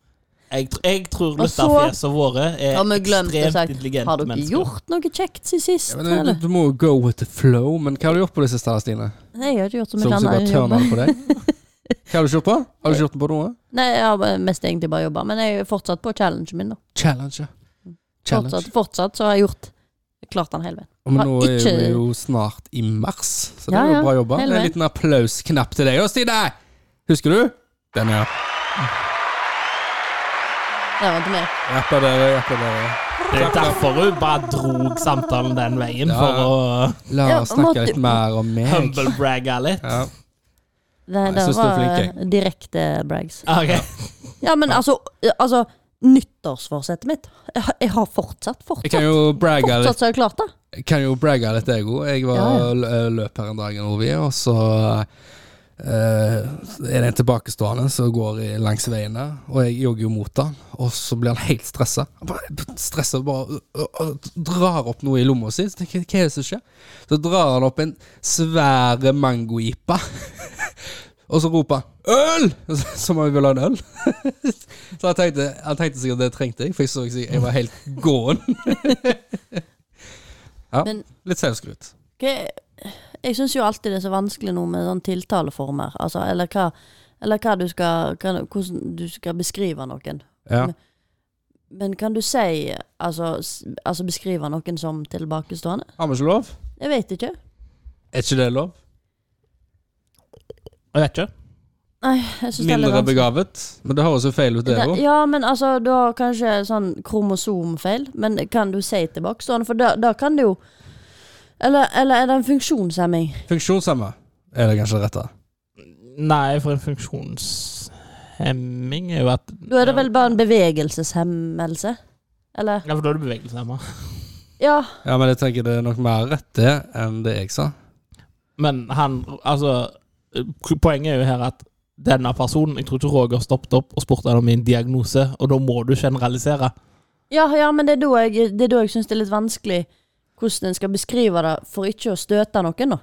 Speaker 3: Jeg, tr- jeg tror
Speaker 2: Og så-
Speaker 3: Luftafjesene våre er
Speaker 2: Har vi glemt å
Speaker 3: ekstremt
Speaker 2: sagt
Speaker 3: intelligente
Speaker 2: Har dere
Speaker 3: mennesker.
Speaker 2: gjort noe kjekt siden sist?
Speaker 1: Ja, men du,
Speaker 2: eller?
Speaker 1: du må jo go with the flow, men hva har du gjort på det siste, Stine?
Speaker 2: Nei, jeg har ikke gjort så
Speaker 1: Så
Speaker 2: mye
Speaker 1: hvis jeg bare
Speaker 2: annet. enn å
Speaker 1: tørner
Speaker 2: jobbe.
Speaker 1: det på deg? Hva har du kjørt på? Har du kjørt på noe?
Speaker 2: Nei, jeg har bare- mest egentlig bare jobba, men jeg er fortsatt på challengen min, da.
Speaker 1: Challenge. ja. Challenge.
Speaker 2: Fortsatt, fortsatt så har jeg gjort klart den hele veien.
Speaker 1: Og men nå
Speaker 2: Har
Speaker 1: er vi
Speaker 2: ikke-
Speaker 1: jo snart i mars, så det
Speaker 2: Ja,
Speaker 1: er jo
Speaker 2: ja,
Speaker 1: bra jobba.
Speaker 2: hele
Speaker 1: Det er En
Speaker 2: veien.
Speaker 1: liten applausknapp til deg òg, Stine! Husker du? Den, ja.
Speaker 2: Det var til meg.
Speaker 1: Jeg applauderer, jeg applauderer.
Speaker 3: Det er derfor hun bare drog samtalen den veien,
Speaker 1: Ja,
Speaker 3: for å
Speaker 1: La
Speaker 2: Ja,
Speaker 1: oss snakke
Speaker 2: måtte-
Speaker 1: litt mer om meg.
Speaker 3: humblebragge litt.
Speaker 1: Ja. jeg
Speaker 2: Det, det
Speaker 1: synes du er
Speaker 2: var
Speaker 1: flink,
Speaker 2: eh, direkte brags.
Speaker 3: Ok.
Speaker 2: Ja, men altså, altså Nyttårsforsettet mitt Jeg har- Jeg har fortsatt,
Speaker 1: Jeg kan
Speaker 2: fortsatt.
Speaker 1: jo bragge litt
Speaker 2: Fortsatt så har jeg klart det.
Speaker 1: Jeg kan jo bragge litt, jeg òg. Jeg var
Speaker 2: Ja, ja.
Speaker 1: l- ø, løp her en dag, Ovi, og så eh, er det en tilbakestående som går i, langs veien der, og jeg jogger jo mot han, og så blir han helt stressa. Han bare stresser og bare ø, ø, ø, drar opp noe i lomma si. Så tenker jeg, hva er det som skjer? Så drar han opp en svær mangojipa, og så roper han 'øl!' Som om han vil ha en øl. Så han tenkte, han tenkte sikkert det trengte jeg, for jeg så ikke- jeg var helt gåen. Ja,
Speaker 2: Men-
Speaker 1: litt selvskryt.
Speaker 2: Hva- Jeg syns jo alltid det er så vanskelig nå med sånn tiltaleformer, altså, eller hva eller hva du skal, hva, hvordan du skal beskrive noen.
Speaker 1: Ja.
Speaker 2: Men kan du si altså, s- altså beskrive noen som tilbakestående?
Speaker 1: Har vi ikke lov?
Speaker 2: Jeg vet ikke.
Speaker 1: Er ikke det lov?
Speaker 3: Jeg vet ikke.
Speaker 2: Nei, jeg syns det er litt
Speaker 1: Mindre
Speaker 2: vanskelig.
Speaker 1: begavet? Men det høres jo feil ut, det
Speaker 2: Det-
Speaker 1: òg.
Speaker 2: Ja, men altså, du har kanskje sånn kromosomfeil, men kan du si tilbakestående? For da, da kan du jo eller, eller er det en funksjonshemming?
Speaker 1: Funksjonshemma er det kanskje rette.
Speaker 3: Nei, for en funksjonshemming er jo at
Speaker 2: Da er det vel bare en bevegelseshemmelse? Eller?
Speaker 3: Ja, for da er det bevegelseshemma.
Speaker 2: Ja.
Speaker 1: Ja, men jeg tenker det er nok mer rett det enn det jeg sa.
Speaker 3: Men han Altså, poenget er jo her at denne personen Jeg tror ikke Roger stoppet opp og spurte han om min diagnose, og da må du generalisere.
Speaker 2: Ja, ja, men det er da jeg, det er da jeg syns det er litt vanskelig hvordan en skal beskrive det for ikke å støte noen. da.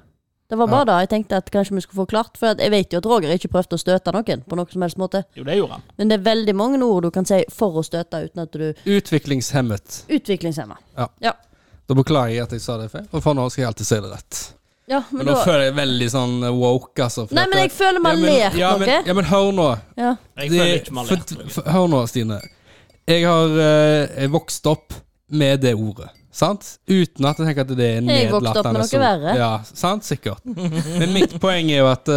Speaker 2: Det var bare da jeg tenkte at kanskje vi skulle få klart, for at jeg vet jo at Roger ikke prøvde å støte noen på noen som helst måte.
Speaker 3: Jo, det gjorde han.
Speaker 2: Men det er veldig mange ord du kan si for å støte uten at du
Speaker 1: Utviklingshemmet.
Speaker 2: Utviklingshemma.
Speaker 1: Da beklager jeg at jeg sa det feil, og for nå skal jeg alltid si det rett.
Speaker 2: Ja,
Speaker 1: Men,
Speaker 2: men
Speaker 1: nå
Speaker 2: da
Speaker 1: føler jeg veldig sånn woke, altså. for
Speaker 2: Nei,
Speaker 1: at
Speaker 2: men jeg
Speaker 1: det-
Speaker 2: føler man
Speaker 1: ja,
Speaker 2: ler
Speaker 1: men, ja, men,
Speaker 2: noe.
Speaker 1: ja, men hør nå.
Speaker 2: Ja.
Speaker 3: Jeg
Speaker 1: Det-
Speaker 3: føler ikke vi har lært
Speaker 1: for-
Speaker 3: noe.
Speaker 1: for- Hør nå, Stine. Jeg har eh, jeg vokst opp med det ordet. Sant? Uten at jeg tenker at det er
Speaker 2: Jeg vokste opp med
Speaker 1: nedlatende.
Speaker 2: noe
Speaker 1: som-
Speaker 2: verre.
Speaker 1: Ja, sant? Sikkert. Men mitt poeng er jo at eh,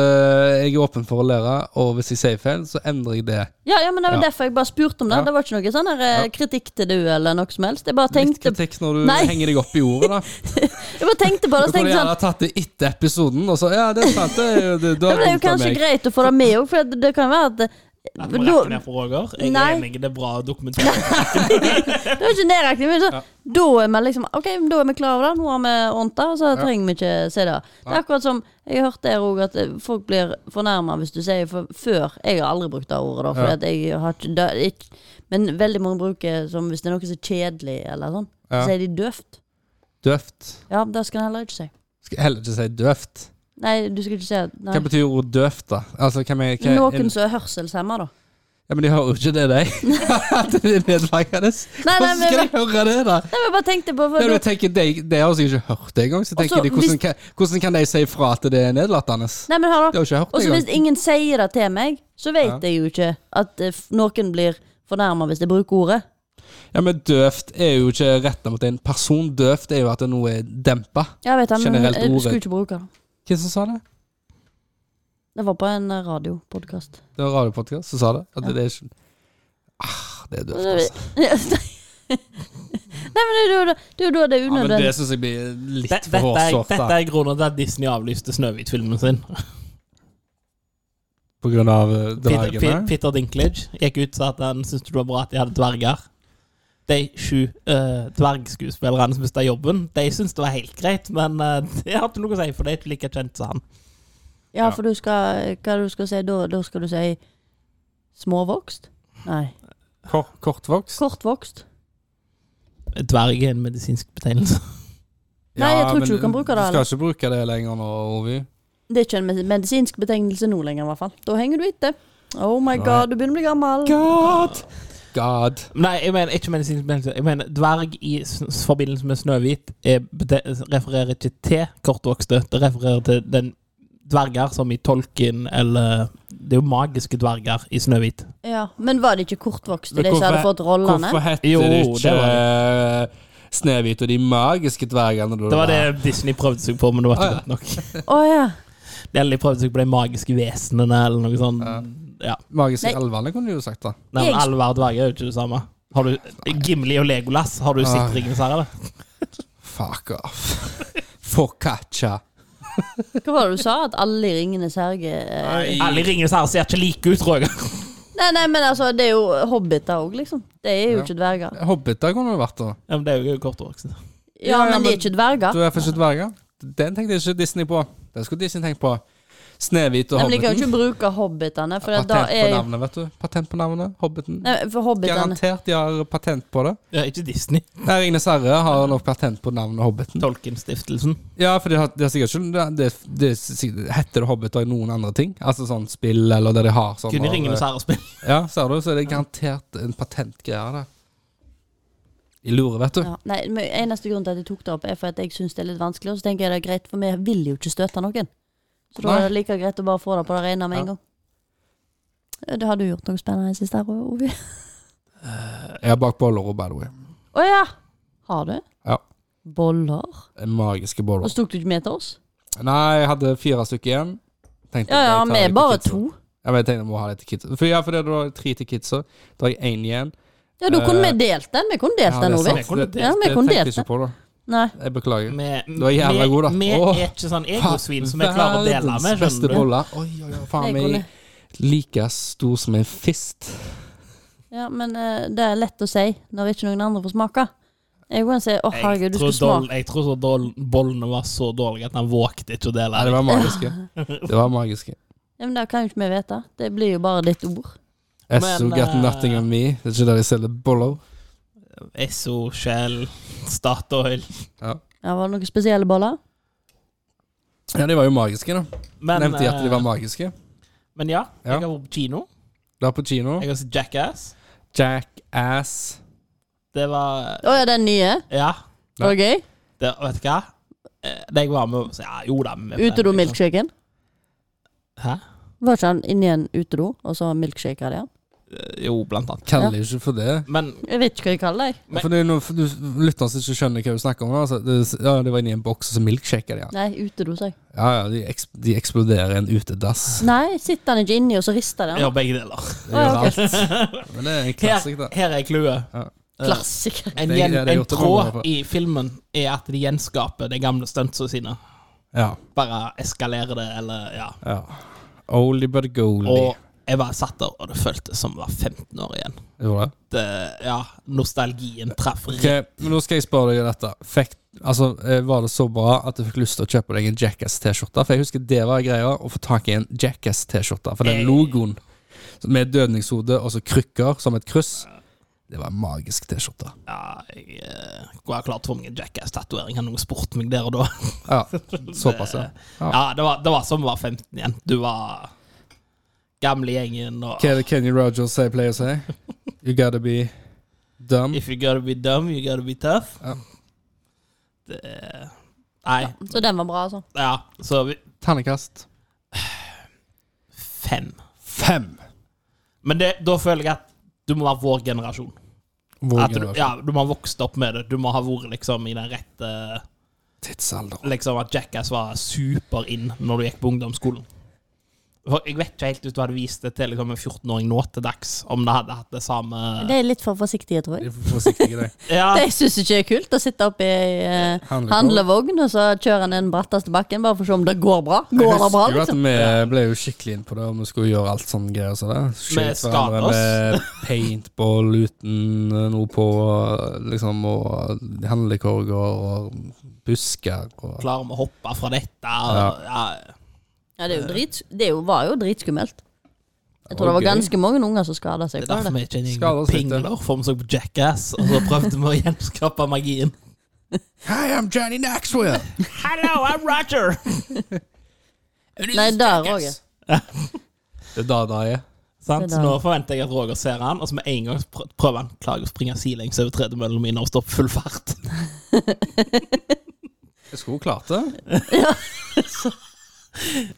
Speaker 1: jeg er åpen for å lære, og hvis jeg sier feil, så endrer jeg det.
Speaker 2: Ja, ja, men det var
Speaker 1: Ja.
Speaker 2: derfor jeg bare spurte om det.
Speaker 1: Ja.
Speaker 2: Det var ikke noe sånn her, eh,
Speaker 1: Ja.
Speaker 2: kritikk til du eller noe som helst. Jeg bare
Speaker 1: Litt
Speaker 2: tenkte,
Speaker 1: kritikk når du
Speaker 2: Nei.
Speaker 1: henger deg opp i ordet, da.
Speaker 2: jeg bare
Speaker 1: Du
Speaker 2: tenkte på det. Så
Speaker 1: kunne
Speaker 2: tenkte jeg sånn,
Speaker 1: gjerne tatt det etter episoden, og så Ja, det er sant, det er jo det, du
Speaker 2: Ja,
Speaker 1: har
Speaker 2: men det er jo
Speaker 1: dumt av
Speaker 2: kanskje
Speaker 1: meg.
Speaker 2: greit å få det med òg, for det, det kan være at
Speaker 3: At
Speaker 2: men
Speaker 3: vi
Speaker 2: da-
Speaker 3: rekker ned for Roger. Jeg
Speaker 2: Nei.
Speaker 3: er enig, det er bra dokumentert.
Speaker 2: Det er ikke nedrekning, men så,
Speaker 1: Ja.
Speaker 2: da er vi liksom Ok, men da er vi klar over det, nå har vi ordnet det, og så
Speaker 1: Ja.
Speaker 2: trenger vi ikke se det. Det
Speaker 1: Nei.
Speaker 2: er akkurat som Jeg hørte der òg at eh, folk blir fornærma hvis du sier for, før. Jeg har aldri brukt det ordet, da, for
Speaker 1: Ja.
Speaker 2: at jeg har ikke, det, er ikke Men veldig mange bruker som hvis det er noe som er kjedelig, eller sånn.
Speaker 1: Ja.
Speaker 2: Så sier de døvt.
Speaker 1: Døvt.
Speaker 2: Ja, det skal en heller ikke si.
Speaker 1: Skal jeg heller ikke si døvt.
Speaker 2: Nei, du skal ikke si at- nei.
Speaker 1: Hva betyr ordet døvt, da? Altså, hvem er, hva,
Speaker 2: Noen som er hørselshemma, da.
Speaker 1: Ja, Men de hører jo ikke det, de. At det er nedlagende.
Speaker 2: Nei, nei,
Speaker 1: Hvordan
Speaker 2: men,
Speaker 1: skal
Speaker 2: nei,
Speaker 1: de høre det, da?
Speaker 2: men jeg bare tenkte på
Speaker 1: Det,
Speaker 2: for, da-
Speaker 1: jeg tenker, de, de har sikkert ikke hørt det engang. Så tenker
Speaker 2: Også,
Speaker 1: de, hvordan,
Speaker 2: hvis-
Speaker 1: kan, hvordan kan de si fra at det er nedlatende?
Speaker 2: Nei, men hør, da.
Speaker 1: De har ikke hørt
Speaker 2: Og
Speaker 1: det
Speaker 2: så hvis
Speaker 1: engang.
Speaker 2: ingen sier det til meg, så vet
Speaker 1: Ja.
Speaker 2: jeg jo ikke at eh, f- noen blir fornærma hvis jeg bruker ordet.
Speaker 1: Ja, men døvt er jo ikke retta mot en person. Døvt er jo at noe er dempa.
Speaker 2: Jeg vet det, men
Speaker 1: Generelt
Speaker 2: jeg
Speaker 1: ordet.
Speaker 2: skulle ikke bruke det.
Speaker 1: Hvem som sa det?
Speaker 2: Det var på en eh, radiopodkast.
Speaker 1: Det var radiopodkast som sa det. At
Speaker 2: Ja.
Speaker 1: det er ikke ah, Det er døvt,
Speaker 2: Nei,
Speaker 1: altså.
Speaker 2: men det er jo da- det er jo da det er
Speaker 1: Ja, men det
Speaker 2: unødvendig.
Speaker 1: syns jeg blir
Speaker 3: Det,
Speaker 1: litt for
Speaker 3: dette, er,
Speaker 1: hårsårt.
Speaker 3: dette
Speaker 1: da.
Speaker 3: er grunnen til at Disney avlyste Snøhvit-filmen sin.
Speaker 1: På grunn av eh,
Speaker 3: Peter, Pe-
Speaker 1: dragene.
Speaker 3: Peter Dinklage gikk ut og sa at han syntes det var bra at de hadde dverger. De sju eh, dvergskuespillerne som mista jobben, de syntes det var helt greit, men eh, det har ikke noe å si, for de er ikke like kjent som han.
Speaker 2: Ja, for du skal Hva du skal si da? Da skal du si småvokst? Nei.
Speaker 1: Kort, kortvokst.
Speaker 2: Kortvokst?
Speaker 3: Dverg er en medisinsk betegnelse.
Speaker 2: Nei, jeg tror
Speaker 1: men
Speaker 2: ikke du kan bruke det,
Speaker 1: Du skal ikke bruke det lenger nå, Ovi.
Speaker 2: Det er ikke en med- medisinsk betegnelse nå lenger, i hvert fall. Da henger du etter. Oh my
Speaker 1: Nei.
Speaker 2: god, du begynner å bli gammel.
Speaker 1: God! God.
Speaker 3: Nei, jeg mener ikke medisinsk betegnelse. Jeg mener dverg i s forbindelse med Snøhvit er bete- refererer ikke til kortvokste, det refererer til den dverger som i Tolkien eller Det er jo magiske dverger i Snøhvit.
Speaker 2: Ja, Men var det ikke kortvokste,
Speaker 1: Men
Speaker 2: de som hadde
Speaker 1: hvorfor-
Speaker 2: fått rollene?
Speaker 1: Hvorfor heter
Speaker 3: Jo,
Speaker 1: det
Speaker 3: det
Speaker 1: ikke eh, Snehvit og de magiske dvergene? da
Speaker 3: Det var det Disney prøvde seg på, men det
Speaker 1: Ah,
Speaker 3: var ikke
Speaker 1: ja.
Speaker 3: godt nok.
Speaker 2: Å ja.
Speaker 3: Eller de prøvde seg på de magiske vesenene, eller noe sånt. Ja.
Speaker 1: Magiske
Speaker 2: Nei.
Speaker 1: elvene kunne du jo sagt, da.
Speaker 3: Nei, men
Speaker 2: Jeg-
Speaker 3: alle hver dverger er jo ikke det samme. Har du Gimli og Legolas? Har du
Speaker 1: Ah.
Speaker 3: sikringen her, eller?
Speaker 1: Fuck off. Focaccia.
Speaker 2: Hva var det du sa? At alle i Ringenes herre eh,
Speaker 3: Alle i Ringenes herre ser ikke like ut, Roger.
Speaker 2: Nei, nei, men altså, det er jo hobbiter òg, liksom. Det er jo
Speaker 1: Ja.
Speaker 2: ikke dverger.
Speaker 1: Hobbiter kunne det vært, da.
Speaker 3: Ja, men det er jo kortvoksen.
Speaker 2: Ja,
Speaker 1: Ja, ja,
Speaker 2: men de er
Speaker 1: men-
Speaker 2: ikke dverger.
Speaker 1: Du er først dverger. Den tenkte ikke Disney på. Den skulle Disney tenkt på. Snehvit og
Speaker 2: Nei, men de kan jo
Speaker 1: Hobbiten.
Speaker 2: ikke bruke hobbitene, for
Speaker 1: Patent
Speaker 2: da
Speaker 1: på
Speaker 2: er jo
Speaker 1: navnet, vet du. Patent på navnet. Hobbiten.
Speaker 2: Nei, for hobbitene
Speaker 1: Garantert de har patent på det.
Speaker 3: Ja, ikke Disney.
Speaker 1: Nei, Ringenes herre har nok patent på navnet Hobbiten.
Speaker 3: Tolkien-stiftelsen.
Speaker 1: Ja, for de har, de har sikkert ikke det, det, det, er sikkert- Heter det Hobbit og noen andre ting? Altså sånn spill, eller det de har sånn
Speaker 3: Kun i
Speaker 1: og-
Speaker 3: Ringenes herre-spill.
Speaker 1: Ja, ser du, så er det garantert en patentgreie der. De lurer, vet du.
Speaker 2: ja, Nei, men eneste grunn til at jeg tok det opp, er for at jeg syns det er litt vanskelig, og så tenker jeg det er greit, for vi vil jo ikke støte noen. Så da
Speaker 1: Nei.
Speaker 2: er det like greit å bare få det på det rene med en gang. Ja, Det har du gjort noe spennende sist her, Ovi.
Speaker 1: Jeg er bak boller og by the way.
Speaker 2: Å ja! Har du?
Speaker 1: Ja.
Speaker 2: Boller?
Speaker 1: Magiske boller.
Speaker 2: Og så tok du ikke med til oss?
Speaker 1: Nei, jeg hadde fire stykker igjen. Tenkte
Speaker 2: Ja
Speaker 1: at jeg
Speaker 2: ja,
Speaker 1: tar litt
Speaker 2: vi er bare
Speaker 1: kidsa.
Speaker 2: to.
Speaker 1: Ja, men jeg tenkte jeg må ha litt til kidsa. For ja, for det er da tre til kidsa. Da har jeg én igjen.
Speaker 2: Ja, da kunne
Speaker 1: Eh,
Speaker 2: vi delt den. Vi kunne delt
Speaker 1: Ja,
Speaker 2: den,
Speaker 1: det er
Speaker 2: Ovi.
Speaker 1: sant.
Speaker 3: Vi kunne
Speaker 1: Det-
Speaker 3: delt.
Speaker 2: Ja, vi
Speaker 1: det
Speaker 2: kunne
Speaker 1: tenkte jeg
Speaker 2: delt
Speaker 1: ikke på, da.
Speaker 2: Nei.
Speaker 1: Jeg beklager.
Speaker 3: Vi,
Speaker 1: Du er jævla god, da.
Speaker 3: vi
Speaker 1: Åh.
Speaker 3: er ikke sånn egosvin som vi klarer å dele
Speaker 1: Verdens
Speaker 3: med,
Speaker 1: beste
Speaker 3: skjønner du.
Speaker 1: boller. Oi, oi, oi. Faen
Speaker 2: Jeg
Speaker 1: meg
Speaker 2: kunne-
Speaker 1: like stor som en fist.
Speaker 2: Ja, men eh, det er lett å si når ikke noen andre får smake. Jeg kan si 'Å, herregud,
Speaker 3: Jeg
Speaker 2: du
Speaker 3: tror,
Speaker 2: skulle
Speaker 3: dol,
Speaker 2: smake'.
Speaker 3: jeg tror så dol, bollene var så dårlige at han vågte ikke å dele.
Speaker 1: Nei, det var magiske. Det var magiske.
Speaker 2: Ja, men det kan jo ikke vi vite. Det blir jo bare ditt ord.
Speaker 3: Men,
Speaker 1: Esso got
Speaker 3: eh,
Speaker 1: nothing on me. Det er ikke der de selger boller.
Speaker 3: Esso, Shell, Statoil.
Speaker 2: Ja, var det noen spesielle boller?
Speaker 1: Ja, de var jo magiske, da.
Speaker 3: Men,
Speaker 1: Nevnte jeg at de
Speaker 3: eh,
Speaker 1: var magiske?
Speaker 3: Men ja,
Speaker 1: Ja.
Speaker 3: jeg har vært på kino.
Speaker 1: Det er på kino.
Speaker 3: Jeg har sett Jackass.
Speaker 1: Jackass.
Speaker 3: Det var
Speaker 2: Å ja, den nye?
Speaker 3: Ja.
Speaker 2: Det var gøy.
Speaker 3: Det, vet du hva? Eh, Det jeg var med så, Ja, jo da. vi er fan, liksom.
Speaker 2: Utedo-milkshaken.
Speaker 3: Hæ?
Speaker 2: Var ikke han inni en utedo, og så milkshaker der?
Speaker 3: Eh, Jo, blant annet.
Speaker 1: Kaller ikke for det.
Speaker 3: Men
Speaker 2: Jeg vet ikke hva jeg kaller det.
Speaker 3: Men-
Speaker 1: For det er noe for du lytter som ikke skjønner hva du snakker om. Altså. Det, ja, det var inni en boks, og så milkshaker de. Ja.
Speaker 2: Nei, utedo, sa jeg.
Speaker 1: Ja, ja, de, eks, de eksploderer i en utedass.
Speaker 2: Nei, sitter han ikke inni, og så rister
Speaker 3: jeg
Speaker 2: den?
Speaker 3: gjør begge deler.
Speaker 1: Det gjør
Speaker 2: Å, ja,
Speaker 1: alt. Men det er en
Speaker 3: Her,
Speaker 1: klassik, da.
Speaker 3: her er clouet.
Speaker 1: Ja.
Speaker 3: Eh,
Speaker 2: Klassiker.
Speaker 3: En,
Speaker 1: Det er-
Speaker 3: gjen,
Speaker 1: det er det
Speaker 3: en
Speaker 1: gjort romer
Speaker 3: tråd
Speaker 1: for.
Speaker 3: i filmen er at de gjenskaper de gamle stuntsene sine.
Speaker 1: Ja,
Speaker 3: Bare eskalerer det, eller Ja.
Speaker 1: ja. Oldie but goldie.
Speaker 3: Og jeg bare satt der, og det føltes som jeg var 15 år igjen.
Speaker 1: Gjorde det?
Speaker 3: Det, ja, nostalgien traff
Speaker 1: Ok,
Speaker 3: rett.
Speaker 1: men Nå skal jeg spørre deg om dette. Fikk, altså, eh, var det så bra at du fikk lyst til å kjøpe deg en Jackass-T-skjorte? For jeg husker det var greia, å få tak i en Jackass-T-skjorte. For den
Speaker 3: Jeg-
Speaker 1: logoen med dødningshode og så krykker som et kryss, det var en magisk T-skjorte.
Speaker 3: Ja, jeg eh, skulle ha klart å få meg en Jackass-tatovering. Hadde noen spurt meg der og da.
Speaker 1: Ja, såpass, ja. Ja.
Speaker 3: Ja, det var, det var som å være 15 igjen. Du var gamle gjengen og
Speaker 1: Hva er det Kenny Rogers sier, pleier å si? You gotta be dumb.
Speaker 3: If you gotta be dumb, you gotta be tough.
Speaker 1: Ja.
Speaker 3: Det Nei.
Speaker 2: Så den var bra, altså.
Speaker 3: Ja, så vi-
Speaker 1: Ternekast
Speaker 3: fem.
Speaker 1: fem.
Speaker 3: Men det, da føler jeg at du må være vår generasjon.
Speaker 1: Vår
Speaker 3: At du,
Speaker 1: generasjon.
Speaker 3: ja, du må ha vokst opp med det. Du må ha vært liksom i den rette
Speaker 1: Tidsalder.
Speaker 3: Liksom at Jackass var super inn når du gikk på ungdomsskolen. For jeg vet ikke helt ut hva du viste til liksom, en 14-åring nå til dags, om det hadde hatt det samme
Speaker 2: De er litt for forsiktige, tror jeg.
Speaker 1: Litt forsiktig i det.
Speaker 3: Ja,
Speaker 2: De syns ikke det er kult å sitte oppe i eh,
Speaker 1: Handlevogn.
Speaker 2: handlevogn, og så kjører han den bratteste bakken bare for å se om det går bra. Går
Speaker 1: Jeg
Speaker 2: det bra,
Speaker 1: husker jo at
Speaker 2: liksom?
Speaker 1: vi ble jo skikkelig inn på det, om vi skulle gjøre alt sånn greier som det. Skyte
Speaker 3: skadet
Speaker 1: hverandre med paintball uten eh, noe på, liksom, og handlekorger og busker og
Speaker 3: klarer vi å hoppe fra dette? Og, ja.
Speaker 2: Ja, det er jo drits, det er jo, var jo dritskummelt. Jeg tror det var
Speaker 1: gøy.
Speaker 2: ganske mange unger som skada seg.
Speaker 3: Det er derfor vi ikke er
Speaker 1: Skader
Speaker 3: en gjeng
Speaker 1: oss
Speaker 3: med
Speaker 1: litt,
Speaker 3: pingler, for vi så på Jackass, og så prøvde vi å gjenskape magien.
Speaker 1: Hi, I'm Johnny Knoxville!
Speaker 3: Hello, I'm Roger!
Speaker 2: Nei, der òg.
Speaker 1: Det er da det er.
Speaker 3: Sant?
Speaker 2: Det
Speaker 3: Så
Speaker 2: der.
Speaker 3: nå forventer jeg at Roger ser han, og så med en gang prø- prøver han klager å springe sidelengs over tredemøllen min og stoppe full fart.
Speaker 1: Jeg skulle jo klart det.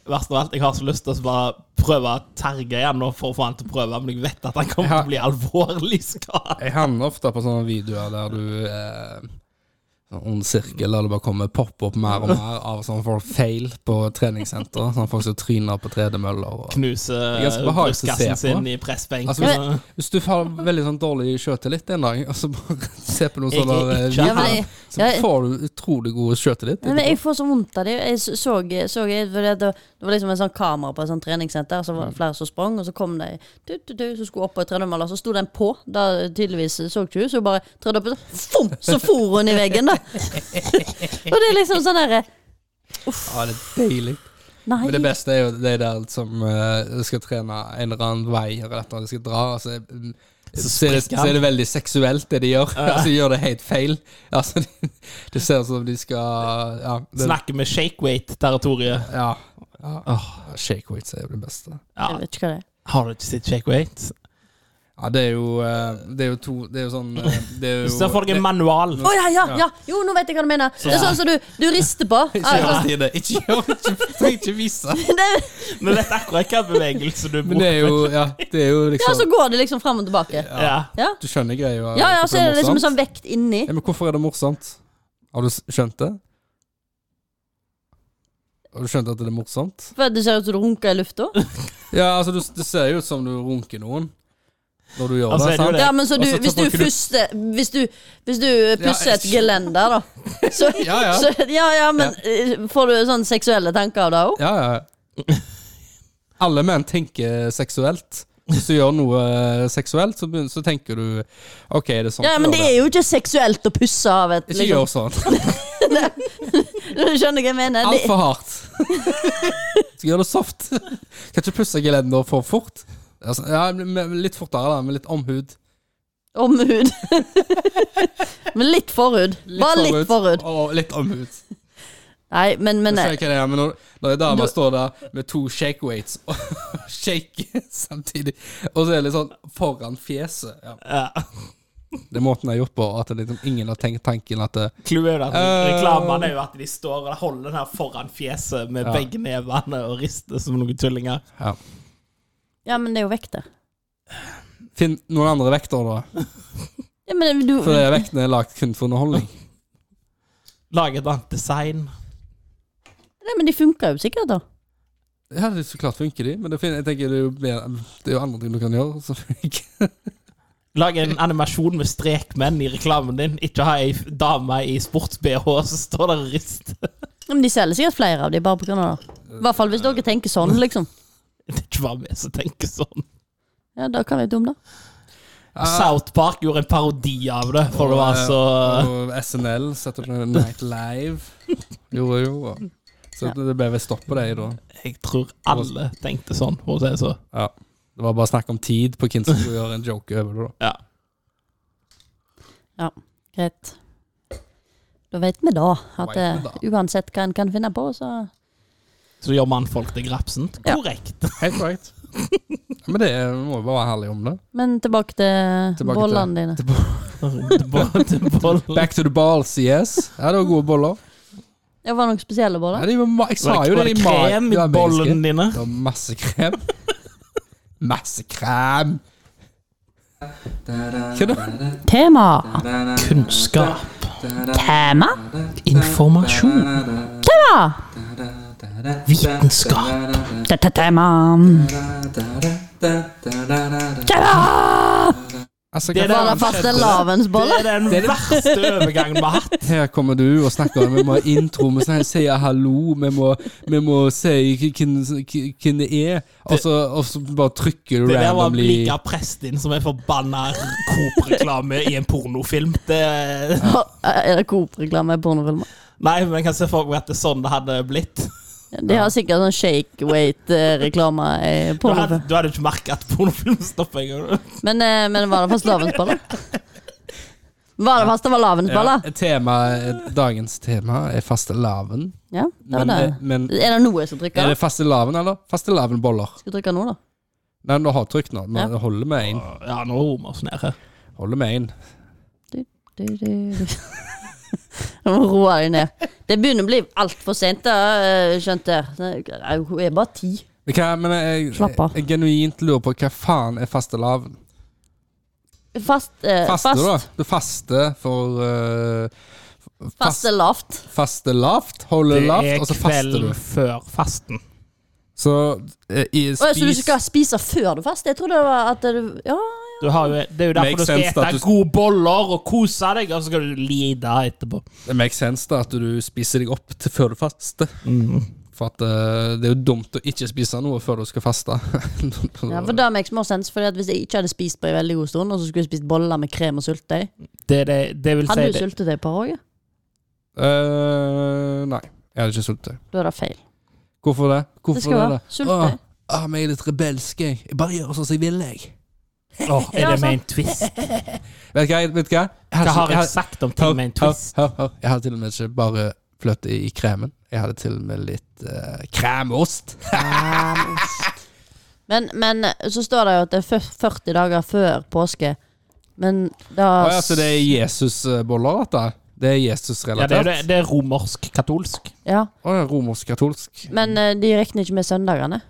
Speaker 3: Verst av alt, jeg har så lyst til å bare prøve å terge igjen nå for å få han til å prøve, men jeg vet at han kommer
Speaker 1: Ja.
Speaker 3: til å bli alvorlig skada.
Speaker 1: Jeg havner ofte på sånne videoer der du eh, sånn Ond sirkel, der det bare kommer poppe opp mer og mer av sånne folk feil på treningssenter. Sånne folk som tryner på tredemøller. Og.
Speaker 3: Knuse
Speaker 1: er ganske behagelig å se
Speaker 3: brystkassen
Speaker 1: på.
Speaker 3: sin i pressbenken.
Speaker 1: Altså, Hvis du har veldig sånn dårlig sjøltillit en dag, og så bare se på noen
Speaker 3: Jeg er
Speaker 1: sånne
Speaker 3: ikke-
Speaker 1: eh,
Speaker 3: Ja,
Speaker 2: Ja, men
Speaker 1: videoer,
Speaker 2: jeg,
Speaker 1: så
Speaker 2: jeg-
Speaker 1: får du utrolig god sjøltillit.
Speaker 2: Nei, men jeg får så vondt av det. Jeg så, så, så jeg, for det, det var liksom en sånn kamera på et sånt treningssenter, og så var det flere som sprang, og så kom de du, du, du, som skulle opp på et tredemølle, og så sto den på. Da tydeligvis så ikke hun, så hun bare trådte opp, og så, fum, så for hun i veggen, da. og det er liksom sånn derre
Speaker 1: Ja, det er deilig.
Speaker 2: Nei.
Speaker 1: Men det beste er jo de der som eh, skal trene en eller annen vei, eller et eller annet de skal dra. Altså, mm,
Speaker 3: Så
Speaker 1: så, er det, så
Speaker 3: sprekker han.
Speaker 1: er det veldig seksuelt, det de gjør. altså, de gjør det helt feil. Altså, de, det ser ut som de skal Ja. Det,
Speaker 3: Snakker med shake-weight-territoriet.
Speaker 1: ja, ja. Shake weights er jo det beste.
Speaker 3: Ja.
Speaker 2: Jeg vet ikke hva det er.
Speaker 3: Har du ikke sett shake-weight?
Speaker 1: Ja, det er jo eh, Det er jo to Det er jo sånn eh, Det er jo
Speaker 3: Se for deg en manual.
Speaker 2: Å ja, ja, ja! Jo, nå vet jeg hva du mener. Det er sånn som du, du rister på. Altså,
Speaker 1: Ikke gjør det, Stine. Ikke gjør det. Ikke- Trenger ikke vise.
Speaker 3: Vi vet akkurat hvilken bevegelse du
Speaker 1: Men det
Speaker 3: bruker.
Speaker 1: er jo Ja, det er jo
Speaker 2: Ja, så
Speaker 1: liksom
Speaker 2: går det liksom fram og tilbake.
Speaker 3: Ja.
Speaker 2: Ja,
Speaker 1: Du skjønner greia?
Speaker 2: ja, ja
Speaker 1: hvorfor
Speaker 2: så er det liksom
Speaker 1: morsomt?
Speaker 2: en sånn vekt inni.
Speaker 1: Ja, men hvorfor er det morsomt? Har du s- skjønt det? Har du skjønt at det er morsomt?
Speaker 2: For det ser ut som du runker i lufta.
Speaker 1: Ja, altså, du, det ser jo ut som du runker noen når du gjør
Speaker 3: Altså,
Speaker 1: det,
Speaker 3: er det jo
Speaker 1: sant?
Speaker 3: det.
Speaker 2: Ja, men så
Speaker 1: Og
Speaker 2: du,
Speaker 1: så
Speaker 2: hvis, du
Speaker 1: bruker du-
Speaker 2: puster, hvis, du, hvis du pusser
Speaker 1: Ja,
Speaker 2: et gelender, da så,
Speaker 1: Ja, ja.
Speaker 2: så, ja, ja, men eh, får du sånne seksuelle tanker av det òg?
Speaker 1: Ja, ja. Alle menn tenker seksuelt. Hvis du gjør noe seksuelt, så, begynner, så tenker du OK, det er sånn
Speaker 2: Ja, men det er jo ikke seksuelt å pusse av et
Speaker 1: Ikke
Speaker 2: liksom.
Speaker 1: gjør sånn.
Speaker 2: Skjønner du hva jeg mener? Det,
Speaker 1: Altfor hardt. Så gjør det soft. Kan ikke pusse gelender for fort. Altså, ja, men litt fortere, da, med litt omhud.
Speaker 2: om hud. men litt forhud. Bare litt forhud.
Speaker 1: Og litt omhud.
Speaker 2: Nei, men, men eh,
Speaker 1: Jeg ser ikke det, men når, når en dame
Speaker 2: Du-
Speaker 1: står der med to shake weights og shake samtidig, og så er det litt sånn foran fjeset ja.
Speaker 3: Ja.
Speaker 1: Det er måten jeg har gjort på, at det liksom ingen har tenkt tanken at det,
Speaker 3: Clouet er jo at
Speaker 1: Eh.
Speaker 3: reklamene er jo at de står og holder den her foran fjeset med begge nevene og rister som noen tullinger.
Speaker 1: ja.
Speaker 2: Ja, men det er jo vekter.
Speaker 1: Finn noen andre vekter, da.
Speaker 2: Ja, men du,
Speaker 1: For det er vektene er lagd kun for underholdning.
Speaker 3: Lage et annet design.
Speaker 2: nei, men de funker jo sikkert, da.
Speaker 1: Ja, det er så klart funker de, men det, fin- jeg tenker det er, jo mer, det er jo andre ting du kan gjøre som funker.
Speaker 3: Lage en animasjon med strekmenn i reklamen din. Ikke ha ei f- dame i sports-BH som står der og rister.
Speaker 2: Ja, Men de selger sikkert flere av de bare på grunn av det. I hvert fall hvis dere tenker sånn, liksom.
Speaker 3: Det er ikke bare vi som tenker sånn.
Speaker 2: Ja, da kan vi dumme, da.
Speaker 1: Ah.
Speaker 3: South Park gjorde en parodi av det, for det var så
Speaker 1: eh, Og SNL, Saturday Night Live, gjorde jo og- Så det ble vel stopp på det da.
Speaker 3: Jeg tror alle tenkte sånn, for å si det sånn.
Speaker 1: Ja. Det var bare snakk om tid på hvem som skulle gjøre en joke over det. da.
Speaker 3: Ja.
Speaker 2: Greit. Da vet vi da at
Speaker 1: Vet vi
Speaker 2: eh,
Speaker 1: da.
Speaker 2: uansett hva en kan finne på, så
Speaker 3: Så gjør mannfolk til grapsen.
Speaker 2: Ja.
Speaker 3: Korrekt.
Speaker 1: Helt korrekt. Ja, Men det er- vi må jo bare være ærlige om det.
Speaker 2: Men tilbake til
Speaker 1: Tilbake til-
Speaker 2: bollene dine.
Speaker 3: Tilbå- tilbå-
Speaker 1: Back to the balls, yes. Ja, det var gode boller.
Speaker 2: Ja, var det noen spesielle
Speaker 1: Ja,
Speaker 2: boller?
Speaker 1: de var ma jeg sa
Speaker 3: Var
Speaker 1: jo
Speaker 3: var
Speaker 1: det, de ma-
Speaker 3: krem
Speaker 1: de var
Speaker 3: i bollene
Speaker 1: magiske.
Speaker 3: dine?
Speaker 1: Det var masse krem. Masse krem! Altså, Hva da?
Speaker 2: Tema!
Speaker 3: Kunnskap.
Speaker 2: Tema?
Speaker 3: Informasjon.
Speaker 2: Tema!
Speaker 3: Vitenskap.
Speaker 2: Ta-ta-tema. Ta-da!
Speaker 1: Altså,
Speaker 3: Det
Speaker 1: hva
Speaker 3: er det
Speaker 2: Var det
Speaker 1: faen skjedde?
Speaker 3: Det
Speaker 2: fastelavnsbolle?
Speaker 3: er den verste overgangen vi har hatt.
Speaker 1: Her kommer du og snakker om Vi må ha intro, vi må si hallo, vi må, vi må si hvem hvem det er. Og så, og så bare trykker du
Speaker 3: Det der var
Speaker 1: randomly.
Speaker 3: like Prestin som er forbanna Coop-reklame i en pornofilm. Det,
Speaker 2: Er det Coop-reklame i pornofilmer?
Speaker 3: nei, men jeg kan se for meg at det er sånn det hadde blitt.
Speaker 2: De har sikkert sånn shake eh, weight-reklame i
Speaker 3: Du hadde,
Speaker 2: pornofilmer.
Speaker 3: du hadde ikke merka at pornofilm stopper engang.
Speaker 2: Men, eh, men var det fastelavnsbolle? Var det fastelavnsbolle?
Speaker 1: Tema, dagens tema er fastelavn.
Speaker 2: Ja, det var
Speaker 1: Men,
Speaker 2: det.
Speaker 1: eh, men
Speaker 2: Er det nå jeg skal trykke?
Speaker 1: er det fastelavn, eller? Fastelavnboller.
Speaker 2: Skal jeg trykke nå, da?
Speaker 1: Nei, du har trykt nå.
Speaker 2: Ja.
Speaker 1: Nå holder vi én.
Speaker 3: Ja, nå roer vi oss ned her.
Speaker 1: Holder vi én.
Speaker 2: Du, du, du. Jeg må roe deg ned. Det begynner å bli altfor sent, da, eh, skjønte jeg. Nei, Hun er bare ti.
Speaker 1: Men hva- Men jeg,
Speaker 2: Slapp av.
Speaker 1: jeg genuint lurer på hva faen er fastelavn?
Speaker 2: Fast, eh, fast,
Speaker 1: Faste, da. Du faster for eh, fast,
Speaker 2: Faste lavt.
Speaker 1: Faste lavt, holde
Speaker 3: Det
Speaker 1: lavt,
Speaker 3: er
Speaker 1: og så faster du.
Speaker 3: kvelden før fasten.
Speaker 1: Så eh, i,
Speaker 2: Å, ja, Så du
Speaker 1: spis
Speaker 2: skal spise før du faster? Jeg trodde det var at du Ja,
Speaker 3: Du har jo, det er jo
Speaker 1: Makes
Speaker 3: derfor du skal
Speaker 1: sense at
Speaker 3: spise
Speaker 1: du-
Speaker 3: gode boller og kose deg, og så skal du lide etterpå.
Speaker 1: Det makes sense da at du spiser deg opp til før du faster.
Speaker 3: Mm.
Speaker 1: For at eh, det er jo dumt å ikke spise noe før du skal faste.
Speaker 2: ja
Speaker 1: Mm.
Speaker 2: for det makes more sense. Fordi at hvis jeg ikke hadde spist på en veldig god stund, og så skulle jeg spist boller med krem og sultøy
Speaker 3: Det, er det, det vil si
Speaker 2: Hadde du
Speaker 3: det.
Speaker 2: sultetøy på Åge?
Speaker 1: Eh, nei, jeg hadde ikke sultet.
Speaker 2: Da er det feil.
Speaker 1: Hvorfor det? Hvorfor
Speaker 2: Det skal være
Speaker 1: Åh,
Speaker 2: sultetøy.
Speaker 1: ah, men jeg er litt rebelsk, jeg. Jeg bare gjør sånn som jeg vil, jeg.
Speaker 3: Åh, er
Speaker 2: Ja, altså.
Speaker 3: det med en
Speaker 2: sant.
Speaker 3: twist?
Speaker 1: Vet du hva? Vet du hva? Jeg
Speaker 3: Hva har jeg
Speaker 1: jeg
Speaker 3: sagt om
Speaker 1: hør,
Speaker 3: ting med en
Speaker 1: hør,
Speaker 3: twist?
Speaker 1: hør, hør. Jeg hadde til og med ikke bare fløte i kremen. Jeg hadde til og med litt uh, kremost.
Speaker 2: Men, men eh, så står det jo at det er fyr- 40 dager før påske. Men da
Speaker 1: Å ja, så det er Jesusboller, dette? Det er
Speaker 3: Ja, det, er,
Speaker 1: Jesus-relatert?
Speaker 3: det- det er romersk-katolsk.
Speaker 2: Ja.
Speaker 1: Å ja, romersk-katolsk.
Speaker 2: Men eh, de regner ikke med søndagene.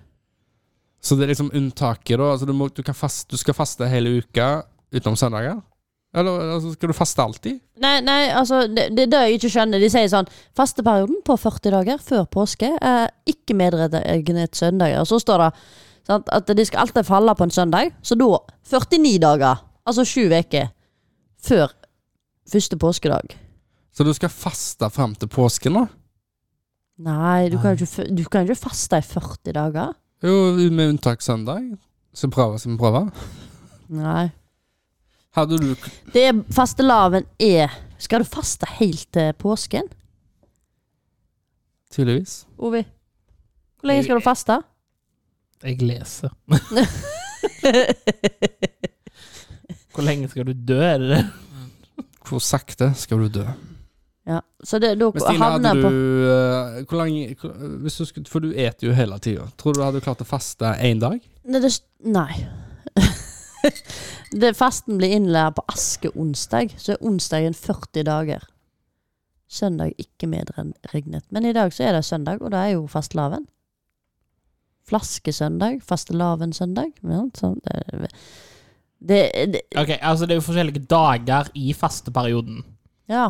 Speaker 1: Så det er liksom unntaket, da. Altså, du, må, du, kan fast, du skal faste hele uka utenom søndager? Eller altså, skal du faste alltid?
Speaker 2: Nei, nei, altså det, det er det jeg ikke skjønner. De sier sånn Fasteperioden på 40 dager før påske er ikke medregnet søndager. Og så står det sant, at de skal alltid falle på en søndag. Så da 49 dager, altså sju uker, før første påskedag.
Speaker 1: Så du skal faste fram til påsken, da?
Speaker 2: Nei, du kan jo ikke, f- du kan jo ikke faste i 40 dager.
Speaker 1: Jo, med unntak søndag. Så prøve som prøve.
Speaker 2: Nei.
Speaker 1: Hadde du
Speaker 2: Det er fastelavn er Skal du faste helt til påsken,
Speaker 1: tydeligvis
Speaker 2: Ovi? Hvor lenge skal du faste?
Speaker 3: Jeg leser. Hvor lenge skal du dø, er det det?
Speaker 1: Hvor sakte skal du dø?
Speaker 2: Ja, så det, da
Speaker 1: Men Stine, hadde
Speaker 2: havner jeg
Speaker 1: du
Speaker 2: på
Speaker 1: eh, Hvor lenge hvor- hvis du skulle, For du eter jo hele tida. Tror du du hadde klart å faste én dag?
Speaker 2: Nei. Det, nei. det, fasten blir innlært på askeonsdag, så er onsdagen 40 dager. Søndag ikke medregnet. Men i dag så er det søndag, og det er jo fastelavn. Flaskesøndag, fastelavnssøndag. Ja, sånn, det, det, det
Speaker 3: Ok, altså Det er jo forskjellige dager i fasteperioden.
Speaker 2: Ja.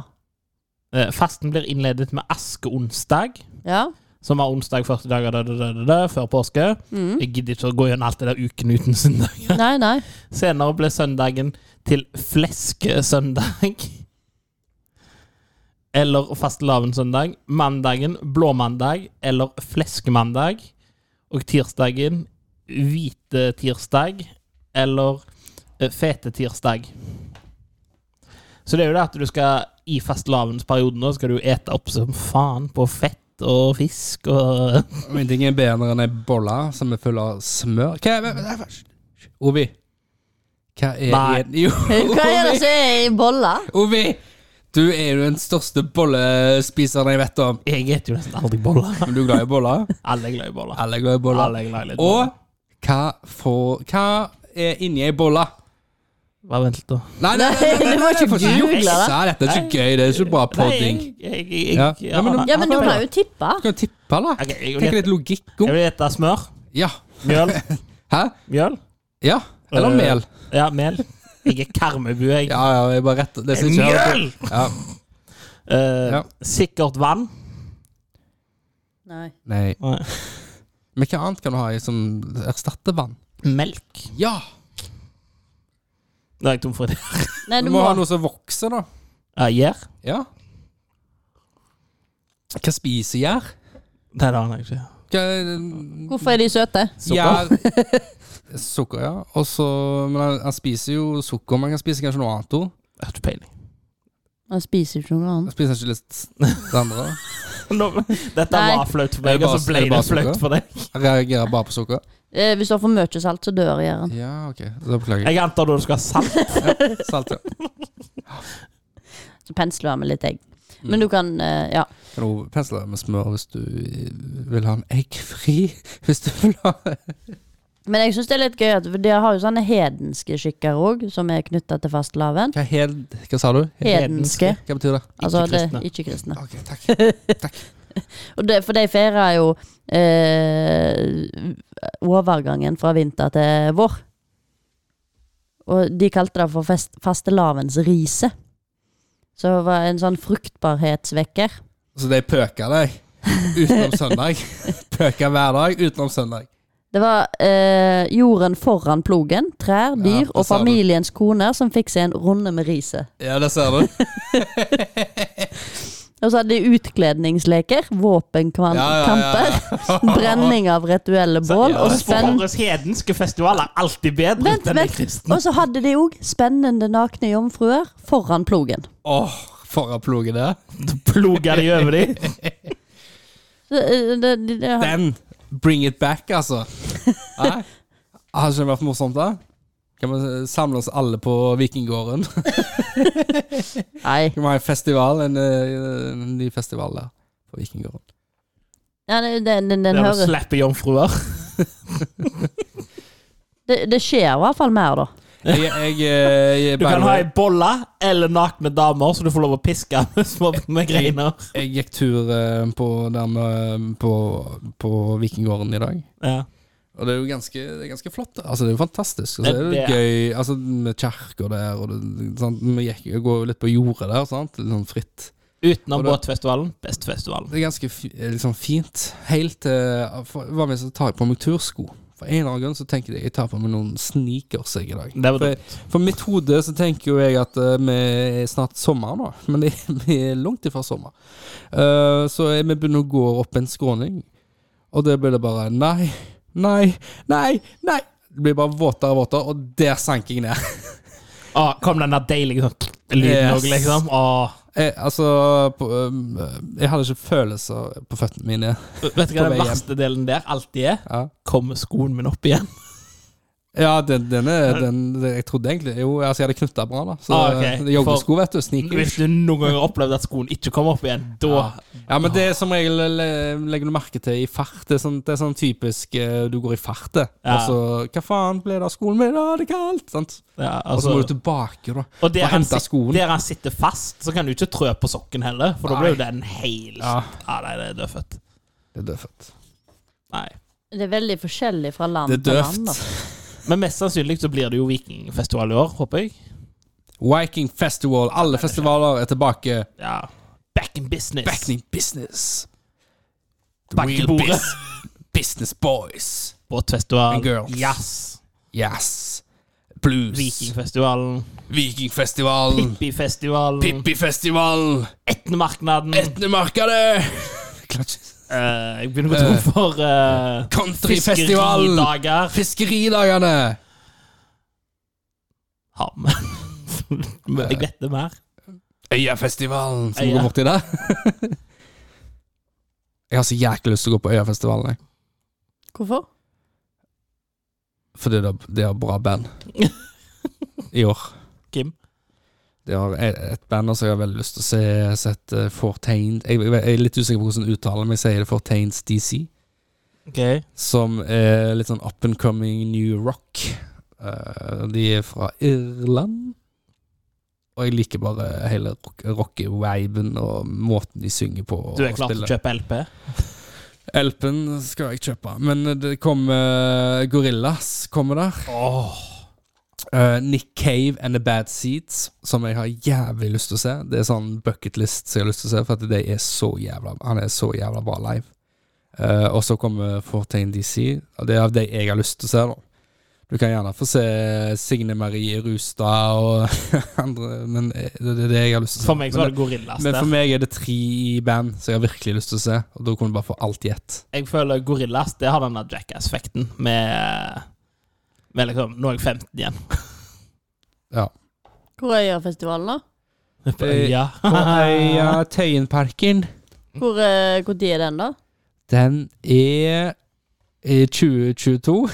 Speaker 3: Eh, Fasten blir innledet med askeonsdag,
Speaker 2: Ja.
Speaker 3: som er onsdag 40 dager da, da, da, da, da, før påske.
Speaker 2: Mm.
Speaker 3: Jeg gidder ikke å gå gjennom alt det der uken uten søndag.
Speaker 2: Nei, nei.
Speaker 3: Senere ble søndagen til fleskesøndag. Eller fastelavnssøndag. Mandagen blåmandag eller fleskemandag. Og tirsdagen hvite tirsdag eller eh, fete tirsdag. Så det er jo det at du skal i fastelavnsperioden nå skal du ete opp som faen på fett og fisk og
Speaker 1: Og Ingenting er bedre enn ei bolle som er full av smør. Hva er, hva er, Ovi. Hva er
Speaker 3: Nei.
Speaker 1: en- Jo,
Speaker 2: Hva er det som er i bolla?
Speaker 1: Ovi! Du er jo den største bollespiseren jeg vet om.
Speaker 3: Jeg eter jo nesten aldri boller.
Speaker 1: Men du er glad i boller?
Speaker 3: Alle er glad i boller.
Speaker 1: Alle er glad i boller.
Speaker 3: Alle er glad i litt boller.
Speaker 1: Og hva, får, hva er inni ei bolle?
Speaker 3: Bare vent litt, da.
Speaker 1: Nei, nei,
Speaker 2: Nei, du må ikke
Speaker 1: jeg får
Speaker 2: google det.
Speaker 1: jukse. Dette er ikke gøy. Det er ikke bra podding.
Speaker 3: Jeg, jeg, jeg,
Speaker 1: Ja.
Speaker 3: jeg,
Speaker 1: Ja, men du-
Speaker 2: Ja, men du kan jo tippe.
Speaker 1: Du kan tippe, da.
Speaker 3: Ok, jeg, vil
Speaker 1: Tenk
Speaker 3: gjette-
Speaker 1: litt logikk
Speaker 3: jeg
Speaker 1: om
Speaker 3: vil gjette smør.
Speaker 1: Ja.
Speaker 3: Mjøl.
Speaker 1: Hæ?
Speaker 3: Mjøl.
Speaker 1: Ja. Eller
Speaker 3: Eh,
Speaker 1: mel.
Speaker 3: Ja, mel. Jeg er Karmøy, jeg.
Speaker 1: Ja, ja, jeg bare retter det som ikke
Speaker 3: Mjøl!
Speaker 1: Ja.
Speaker 3: Eh,
Speaker 1: Ja.
Speaker 3: Sikkert vann.
Speaker 2: Nei.
Speaker 1: Nei.
Speaker 3: Nei.
Speaker 1: Men hva annet kan du ha i sånn som erstatter vann?
Speaker 3: Melk.
Speaker 1: Ja!
Speaker 3: Da er jeg tom for det.
Speaker 2: Nei,
Speaker 1: Du må ha noe som vokser, da.
Speaker 3: Ja, Gjær?
Speaker 1: Ja. Hva spiser gjær?
Speaker 3: Nei, det aner jeg ikke.
Speaker 1: Hva-
Speaker 2: Hvorfor er de søte?
Speaker 3: Sukker?
Speaker 1: Gjær- Sukker, ja. Og så- men han, han spiser jo sukker, men han spiser kanskje noe annet òg.
Speaker 3: Jeg har ikke peiling.
Speaker 2: Han spiser ikke noe
Speaker 1: Han
Speaker 2: annet.
Speaker 1: spiser ikke litt det andre.
Speaker 3: Nå- Dette
Speaker 2: Nei.
Speaker 3: var flaut for
Speaker 1: Er det
Speaker 3: meg,
Speaker 1: bare-
Speaker 3: og så ble
Speaker 1: er det
Speaker 3: det
Speaker 1: bare
Speaker 3: flaut
Speaker 1: sukker?
Speaker 3: for deg.
Speaker 1: Han reagerer bare på sukker.
Speaker 2: Eh, hvis du har for mye salt, så dør gjæren.
Speaker 1: Ja, ok. Da beklager jeg.
Speaker 3: Jeg antar du skal ha salt.
Speaker 1: Salt, ja.
Speaker 2: Så pensler du her med litt egg. Men du kan eh, Ja.
Speaker 1: Kan du pensle med smør hvis du vil ha en eggfri? Hvis du vil ha
Speaker 2: Men jeg syns det er litt gøy, at for de har jo sånne hedenske skikker òg, som er knytta til fastelavn.
Speaker 1: Hva, hel, hva sa du? Hel-
Speaker 2: Hedenske.
Speaker 1: Hva betyr det?
Speaker 2: Altså
Speaker 3: kristne.
Speaker 2: det ikke-kristne.
Speaker 1: Ok, takk.
Speaker 2: Og det, for de feirer jo eh, overgangen fra vinter til vår. Og de kalte det for fest, fastelavnsrise. Så det var en sånn fruktbarhetsvekker.
Speaker 1: Så de pøker deg utenom søndag? Pøker hver dag utenom søndag?
Speaker 2: Det var eh, jorden foran plogen, trær, dyr
Speaker 1: det
Speaker 2: og
Speaker 1: sa du.
Speaker 2: familiens koner som fikk seg en runde med riset.
Speaker 1: Ja, det ser du.
Speaker 2: Og så hadde de utkledningsleker, våpenkamper, brenning av rituelle bål og spenn...
Speaker 3: Våre hedenske festival er alltid bedre
Speaker 2: Vent,
Speaker 3: enn de
Speaker 2: vent.
Speaker 3: kristne.
Speaker 2: Og så hadde de òg spennende nakne jomfruer foran plogen.
Speaker 1: Åh, foran plogen der.
Speaker 3: Ploger de over de.
Speaker 2: Så, eh, det, det, det,
Speaker 1: Den! Bring it back, altså. Hæ? Har ikke det vært morsomt, da? Kan vi samle oss alle på Vikinggården?
Speaker 2: Nei.
Speaker 1: Kan vi ha en festival, en, eh, en ny festival der på Vikinggården?
Speaker 2: Ja, den, den, den, den
Speaker 3: Der du
Speaker 2: hører
Speaker 3: slipper jomfruer.
Speaker 2: det, det skjer i hvert fall mer, da.
Speaker 1: Jeg, jeg, eh, jeg,
Speaker 3: Du
Speaker 1: by
Speaker 3: kan
Speaker 1: the
Speaker 3: ha
Speaker 1: way,
Speaker 3: ei bolle eller nakne damer, så du får lov å piske med små med greiner.
Speaker 1: jeg gikk tur eh, på, der med, på, på Vikinggården i dag.
Speaker 3: Ja.
Speaker 1: Og det er jo ganske, det er ganske flott. Altså, det er jo fantastisk. Og så
Speaker 3: Det-
Speaker 1: er det
Speaker 3: det er-
Speaker 1: gøy altså, med kirker der, og det, sant? vi gikk, jeg går jo litt på jordet der, sant? litt sånn fritt.
Speaker 3: Utenom
Speaker 1: Og da-
Speaker 3: båtfestivalen, bestfestivalen.
Speaker 1: Det er ganske fi- liksom fint. Helt til eh, for, Hva med så tar jeg på meg tursko? For en eller annen grunn så tenker jeg jeg tar på meg noen sneakers jeg i dag.
Speaker 3: Det var
Speaker 1: For, for mitt hode så tenker jo jeg at eh, vi er snart sommer nå, men det, vi er langt ifra sommer. Eh, så jeg- vi begynner å gå opp en skråning, og det blir det bare nei, nei, nei, nei. Det blir bare våtere og våtere, og der sank jeg ned.
Speaker 3: Å, kom den der deilige sånn lyden
Speaker 1: Yes.
Speaker 3: òg, liksom. Å,
Speaker 1: Jeg, altså på, eh, Jeg hadde ikke følelser på føttene mine.
Speaker 3: vet du
Speaker 1: På vei
Speaker 3: hva den
Speaker 1: hjem.
Speaker 3: verste delen der alltid er?
Speaker 1: Ja.
Speaker 3: Kommer skoen min opp igjen?
Speaker 1: Ja, den, den er den, den- Jeg trodde egentlig Jo, altså jeg hadde knytta bra, da. Så øh,
Speaker 3: Ah, ok.
Speaker 1: det er joggesko, vet du. Sneakers.
Speaker 3: Hvis du noen ganger har opplevd at skoen ikke kommer opp igjen, da
Speaker 1: Ja. Ja, men det er som regel le- legger du merke til i fart. Det er sånn, det er sånn typisk eh, du går i fart, det.
Speaker 3: Ja.
Speaker 1: Og så Hva faen ble det av skolen min? Å, det er kaldt! Sant?
Speaker 3: ja,
Speaker 1: Og så
Speaker 3: altså,
Speaker 1: må du tilbake, da.
Speaker 3: Og der
Speaker 1: og
Speaker 3: han,
Speaker 1: hente
Speaker 3: sit-
Speaker 1: skoen.
Speaker 3: der han sitter fast, så kan du ikke trø på sokken heller, for da blir jo den helt ja.
Speaker 1: Ja,
Speaker 3: Nei, det er dødfødt.
Speaker 1: det er døvt.
Speaker 3: Nei.
Speaker 2: Det er veldig forskjellig fra land
Speaker 1: Det er
Speaker 2: til
Speaker 1: døvt.
Speaker 2: land. da.
Speaker 3: Men mest sannsynlig så blir det jo vikingfestival i år, håper jeg.
Speaker 1: Viking Festival. Alle festivaler er tilbake.
Speaker 3: Ja. Back in business.
Speaker 1: Back in business. The
Speaker 3: Back i
Speaker 1: real
Speaker 3: bordet.
Speaker 1: bus- business boys.
Speaker 3: Båtfestival.
Speaker 1: And girls.
Speaker 3: Jazz.
Speaker 1: Yes. Blues.
Speaker 3: Vikingfestivalen.
Speaker 1: Vikingfestivalen.
Speaker 3: Pippifestivalen.
Speaker 1: Pippifestivalen.
Speaker 3: Etnemarknaden.
Speaker 1: Etnemarkedet!
Speaker 3: Eh, jeg begynner å gå tom for uh,
Speaker 1: Countryfestivalen! Fiskeridagene!
Speaker 3: Ham. jeg vet det mer.
Speaker 1: Øyafestivalen, som
Speaker 3: Øya.
Speaker 1: går borti der. jeg har så jæklig lyst til å gå på Øyafestivalen, jeg.
Speaker 2: Hvorfor?
Speaker 1: fordi det er, det er bra band. I år.
Speaker 3: Kim.
Speaker 1: Det har et et band også jeg har veldig lyst til å se sett eh, Fortained jeg, jeg er litt usikker på hvordan jeg uttaler det, men jeg sier det Fortained DC.
Speaker 3: Okay.
Speaker 1: Som er litt sånn up and coming new rock. Eh, de er fra Irland. Og jeg liker bare hele rock- rock-viben og måten de synger på.
Speaker 3: Du er
Speaker 1: og
Speaker 3: klar til
Speaker 1: spiller.
Speaker 3: å kjøpe LP?
Speaker 1: Elpen skal jeg kjøpe. Men det kommer Gorillas kommer der. Eh, Nick Cave and The Bad Seeds, som jeg har jævlig lyst til å se. Det er sånn bucketlist som jeg har lyst til å se, for at de er så jævla Han er så jævla bra live. Eh, og så kommer Fortein DC. og Det er av de jeg har lyst til å se. da. Du kan gjerne få se Signe Marie Rustad og andre, men eh, det det er det jeg har lyst til å se.
Speaker 3: For meg så var
Speaker 1: men,
Speaker 3: det Gorillas
Speaker 1: men
Speaker 3: der.
Speaker 1: for meg er det tre i band som jeg har virkelig lyst til å se, og da kunne du bare få alt i ett.
Speaker 3: Jeg føler Gorillas det har den der Jackass-effekten med, med liksom, Nå er jeg 15 igjen.
Speaker 1: Ja.
Speaker 2: Hvor er Øyafestivalen, da?
Speaker 1: Eh,
Speaker 3: ja.
Speaker 1: På Øya Tøyenparken,
Speaker 2: Hvor, eh, hvor tid er den, da?
Speaker 1: den er eh, i 2022.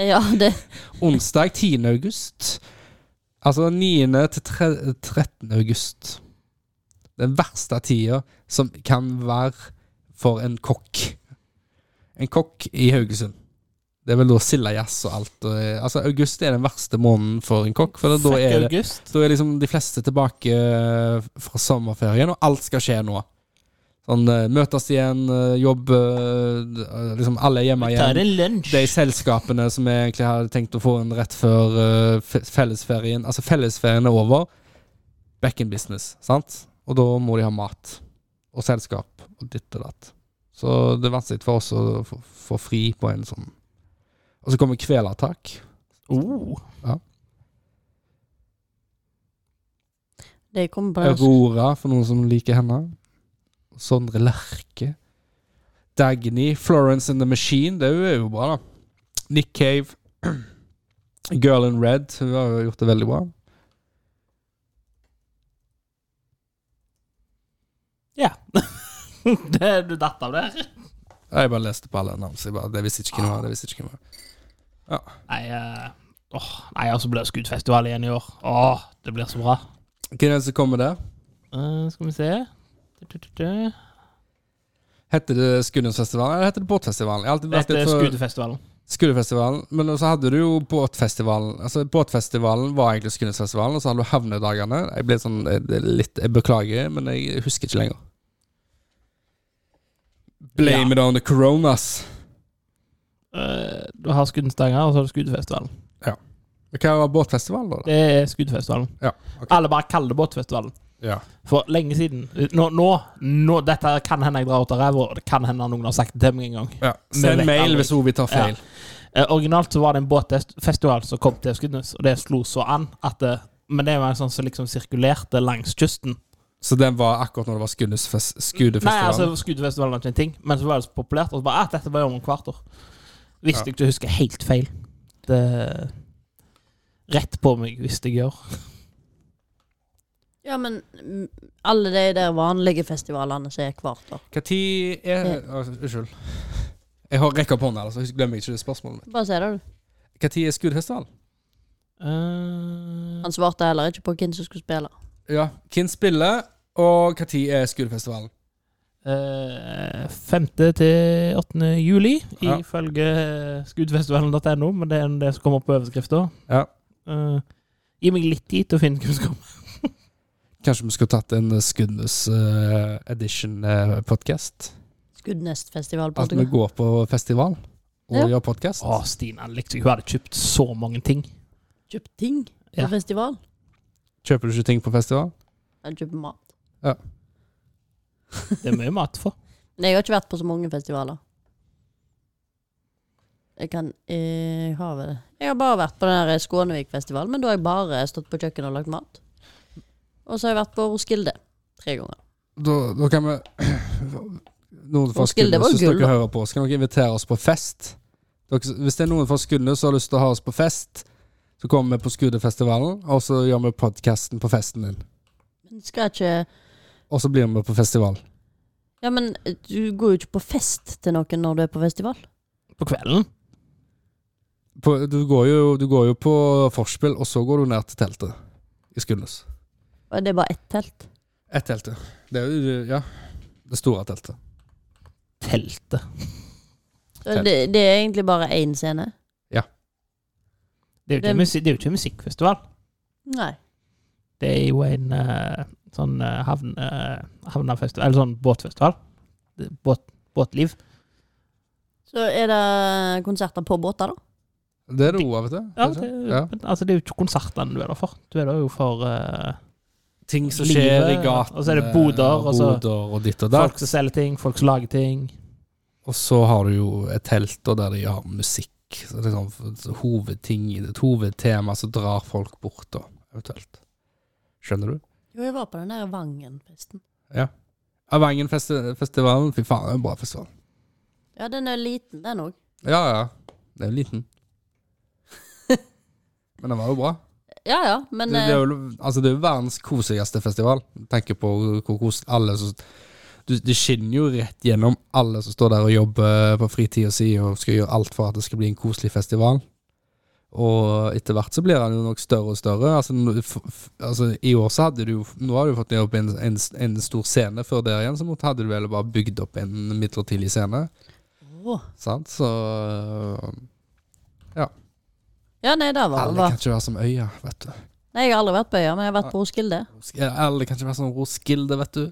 Speaker 2: Ja, det
Speaker 1: Onsdag 10. august. Altså 9. til tre- 13. august. Den verste tida som kan være for en kokk. En kokk i Haugesund. Det er vel da sildejazz og alt. Og, altså August er den verste måneden for en kokk. For da er, det,
Speaker 3: august.
Speaker 1: da er liksom de fleste tilbake eh, fra sommerferien, og alt skal skje nå. Sånn, eh, møtes igjen, eh, jobb eh, Liksom alle er hjemme
Speaker 3: Da
Speaker 1: igjen
Speaker 3: er det lunsj.
Speaker 1: de selskapene som jeg egentlig hadde tenkt å få inn rett før eh, fe- fellesferien Altså, fellesferien er over. Back in business, sant? Og da må de ha mat. Og selskap. Og ditt og datt. Så det er vanskelig for oss å få- få fri på en sånn Og så kommer kvelertak.
Speaker 3: Oh.
Speaker 2: Det kommer på den.
Speaker 1: Aurora, for noen som liker henne. Sondre Lerche. Dagny. Florence and the Machine. Det er jo bra, da. Nick Cave. Girl in Red. Hun har jo gjort det veldig bra.
Speaker 3: Ja. det, du datt av der.
Speaker 1: Jeg bare leste på alle navn, så jeg bare, det visste ikke hvem det var. Det visste ikke hvem det var.
Speaker 3: Nei, eh, åh, nei altså blir det skuddfestival igjen i år. Åh, det blir så bra.
Speaker 1: Hvem er det som kommer der?
Speaker 3: Eh, skal vi se Du-du-du-du.
Speaker 1: Heter det Skuddensfestivalen eller heter det Båtfestivalen? Jeg har alltid vært
Speaker 3: Dette
Speaker 1: litt
Speaker 3: er
Speaker 1: for
Speaker 3: skuddfestivalen.
Speaker 1: Skuddfestivalen, men så hadde du jo Båtfestivalen. Altså Båtfestivalen var egentlig Skuddensfestivalen, og så hadde du Havnedagene. Jeg ble sånn eh, det er litt Jeg beklager, men jeg husker ikke lenger. Blame
Speaker 3: Ja.
Speaker 1: it on the coronas.
Speaker 3: Eh, du har skuddstanger, og så har du skuddfestivalen.
Speaker 1: Hva var båtfestivalen, da?
Speaker 3: Det er skuddfestivalen.
Speaker 1: Ja, ok.
Speaker 3: Alle bare kaller det båtfestivalen.
Speaker 1: Ja.
Speaker 3: For lenge siden nå, nå, nå, Dette kan hende jeg drar ut av ræva, og det kan hende noen har sagt det til meg en gang.
Speaker 1: ja.
Speaker 3: Vi
Speaker 1: Send
Speaker 3: vet
Speaker 1: mail
Speaker 3: aldri.
Speaker 1: hvis Ovi tar feil.
Speaker 3: Eh, originalt så var det en båtfestival som kom til Skudenes, og det slo så an at eh, Men det var en sånn som liksom sirkulerte langs kysten.
Speaker 1: Så den var akkurat når det var Skuddensfes-
Speaker 3: Nei, altså
Speaker 1: Skuddefestivalen.
Speaker 3: Skuddefestivalen var ikke en ting, men så var det så populært, og så bare ah, dette var jo om et kvart år. Hvis
Speaker 1: Ja.
Speaker 3: jeg ikke husker helt feil. Det Rett på meg hvis jeg gjør.
Speaker 2: Ja, men mm, alle de der vanlige festivalene som er hvert år.
Speaker 1: Hva tid er Å, Unnskyld. Jeg har rekk opp hånda, altså. så glemmer jeg ikke det spørsmålet mitt.
Speaker 2: Bare si det, du.
Speaker 1: Hva tid er Skuddfestivalen?
Speaker 3: Eh,
Speaker 2: Han svarte heller ikke på hvem som skulle spille.
Speaker 1: Ja. Hvem spiller, og hva tid er Skuddfestivalen?
Speaker 3: eh, 5. til 8. juli,
Speaker 1: Ja.
Speaker 3: ifølge skuddfestivalen.no, men det er det som kommer på overskrifta.
Speaker 1: Ja.
Speaker 3: Eh, gi meg litt tid til å finne ut hvem som kommer.
Speaker 1: Kanskje vi skulle tatt en Skuddnes eh, edition-podkast?
Speaker 2: Skuddnestfestival på
Speaker 1: At vi går på festival og
Speaker 2: Ja.
Speaker 1: gjør podkast?
Speaker 3: Å, Stina likte Hun hadde kjøpt så mange ting.
Speaker 2: Kjøpt ting på
Speaker 3: Ja.
Speaker 2: festival.
Speaker 1: Kjøper du ikke ting på festival?
Speaker 2: Jeg kjøper mat.
Speaker 3: Det er mye mat for.
Speaker 2: Men jeg har ikke vært på så mange festivaler. Jeg kan Jeg har vel Jeg har bare vært på den der Skånevik-festivalen, men da har jeg bare stått på kjøkkenet og lagd mat. Og så har jeg vært på Roskilde tre ganger.
Speaker 1: Da, da kan vi Noen fra
Speaker 2: Roskilde
Speaker 1: Skuddnes,
Speaker 2: var
Speaker 1: hvis
Speaker 2: gull,
Speaker 1: dere
Speaker 2: da.
Speaker 1: hører på, så kan dere invitere oss på fest. Dere, hvis det er noen fra Skuddnes som har lyst til å ha oss på fest, så kommer vi på Skuddefestivalen, og så gjør vi podkasten på festen din.
Speaker 2: Men skal ikke
Speaker 1: Og så blir vi på festival.
Speaker 2: Ja, men eh, du går jo ikke på fest til noen når du er på festival.
Speaker 3: På kvelden.
Speaker 1: På, du, går jo, du går jo på forspill, og så går du ned til teltet i Skudenes.
Speaker 2: Og det er bare ett telt.
Speaker 1: Ett telt, ja. Det er jo ja, det store teltet.
Speaker 3: Teltet.
Speaker 2: Så Det, det er egentlig bare én scene.
Speaker 3: Det er jo ikke,
Speaker 2: Hvem-
Speaker 3: en musi- det er jo ikke en musikkfestival.
Speaker 2: Nei.
Speaker 3: Det er jo en eh, sånn eh, havn, eh, havnefestival Eller sånn båtfestival. Det er Båt, båtliv.
Speaker 2: Så er det konserter på båter, da.
Speaker 1: Det er det òg, vet du. ikke
Speaker 3: Ja, det,
Speaker 1: sant?
Speaker 3: er jo-
Speaker 1: ja.
Speaker 3: Men, altså, det er jo ikke konsertene du er der for. Du er der jo for eh,
Speaker 1: Ting som
Speaker 3: Livet,
Speaker 1: skjer i gaten.
Speaker 3: og så er det boder, og så-
Speaker 1: eh, boder og ditt og datt.
Speaker 3: folk som selger ting, folk som lager ting.
Speaker 1: Og så har du jo et telt da, der de har musikk. Så det er sånn f- hovedting, i det, et hovedtema som drar folk bort, da, eventuelt. Skjønner du?
Speaker 2: Jo, jeg var på den der Vangen-festen.
Speaker 1: Avangen-festivalen, fy faen, det er en bra festival.
Speaker 2: Ja, den er liten, den òg.
Speaker 1: Ja, ja. Det er jo liten. Men den var jo bra.
Speaker 2: Ja ja, men
Speaker 1: det, det, er
Speaker 2: eh,
Speaker 1: jo, altså, det er jo verdens koseligste festival. Tenker på hvor kos alle som du, Det skinner jo rett gjennom alle som står der og jobber på fritida si og skal gjøre alt for at det skal bli en koselig festival. Og etter hvert så blir den jo nok større og større. Altså, nå- f- f- altså I år så hadde du jo Nå har du jo fått ned opp en, en, en stor scene. Før der igjen så måtte, hadde du vel bare bygd opp en midlertidig scene.
Speaker 2: åh.
Speaker 1: Sant? Så
Speaker 2: Ja, nei, det var
Speaker 1: alle
Speaker 2: det.
Speaker 1: kan ikke være som øya, vet du.
Speaker 2: Nei, jeg har aldri vært på Øya, men jeg har vært på Roskilde.
Speaker 1: Alle kan ikke være som Roskilde, vet du.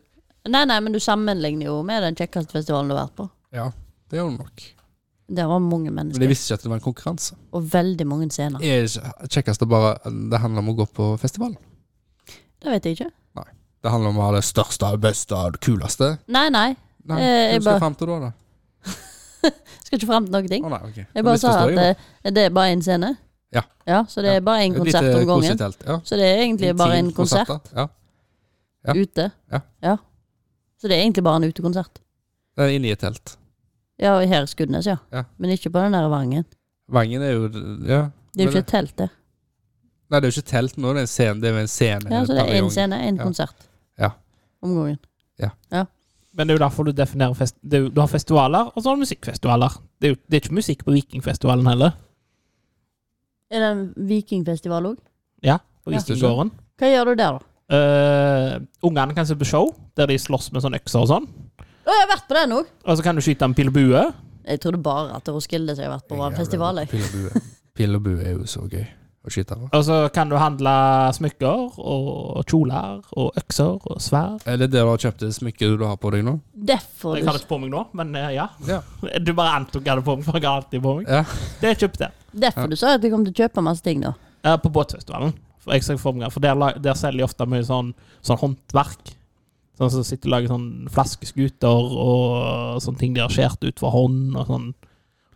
Speaker 2: Nei, nei, men du sammenligner jo med den kjekkeste festivalen du har vært på.
Speaker 1: Ja, det gjør du nok.
Speaker 2: Det var mange
Speaker 1: Men de
Speaker 2: mennesker,
Speaker 1: visste ikke at det var en konkurranse.
Speaker 2: og veldig mange scener.
Speaker 1: Er det ikke kjekkest å bare Det handler om å gå på festival.
Speaker 2: Det vet jeg ikke.
Speaker 1: Det handler om å ha det største, det beste og det kuleste.
Speaker 2: Nei, nei.
Speaker 1: Nei,
Speaker 2: Eh,
Speaker 1: Hva
Speaker 2: jeg
Speaker 1: skal
Speaker 2: bare-
Speaker 1: du frem til da? da?
Speaker 2: Skal ikke fram til noen ting.
Speaker 1: Å nei, ok.
Speaker 2: Jeg bare sa at eh, det er bare én scene.
Speaker 1: Ja.
Speaker 2: Så det er bare én konsert om gangen.
Speaker 1: Ja.
Speaker 2: Så det er egentlig bare en
Speaker 1: Intim
Speaker 2: konsert
Speaker 1: da. Ja. ja.
Speaker 2: ute.
Speaker 1: Ja.
Speaker 2: Så det er egentlig bare en utekonsert.
Speaker 1: Det er Inne i et telt.
Speaker 2: Ja, og her i Skudenes, ja.
Speaker 1: Ja.
Speaker 2: Men ikke på den der Vangen.
Speaker 1: Vangen er jo Ja.
Speaker 2: Det er jo
Speaker 1: Men
Speaker 2: ikke et telt, det.
Speaker 1: Nei, det er jo ikke telt nå, det er en scene. Det er jo en scene.
Speaker 2: Ja, så det er én
Speaker 1: paviljong.
Speaker 2: scene, én
Speaker 1: Ja.
Speaker 2: konsert.
Speaker 1: Ja.
Speaker 2: Om gangen.
Speaker 3: Men det er jo derfor du definerer fest... det er jo, Du har festivaler, og så har du musikkfestivaler. Det er, jo, det er ikke musikk på Vikingfestivalen heller.
Speaker 2: Er det en vikingfestival òg?
Speaker 3: Ja, på
Speaker 2: Ja.
Speaker 3: Vikinggården.
Speaker 2: Hva gjør du der, da?
Speaker 3: Eh, Ungene kan se på show, der de slåss med sånne økser og sånn.
Speaker 2: Å, jeg har vært på den òg!
Speaker 3: Og så kan du skyte en pil og bue.
Speaker 2: Jeg trodde bare at det var Roskilde som jeg har vært på, var en
Speaker 1: Jævla
Speaker 2: festival. Jeg.
Speaker 1: Pil og bue. Pil og bue er jo så gøy å skyte på.
Speaker 3: Og så kan du handle smykker og kjoler og økser og sverd.
Speaker 1: Er det det du har kjøpt det smykket du har på deg nå?
Speaker 2: Derfor
Speaker 3: Jeg
Speaker 2: du,
Speaker 3: har det ikke på meg nå, men eh, ja.
Speaker 1: Ja.
Speaker 3: Du bare antok jeg hadde på meg, for jeg har alltid på meg.
Speaker 1: Ja.
Speaker 3: Det kjøpte jeg
Speaker 2: derfor du sa at du kom til å kjøpe masse ting, da.
Speaker 3: Eh, på båtfestivalen. For, jeg ser for, meg, for der, la- der selger de ofte mye sånn, sånn håndverk. Sånn som sitter og lager sånn flaskeskuter og sånne ting de har skåret ut for hånd. Og sånn.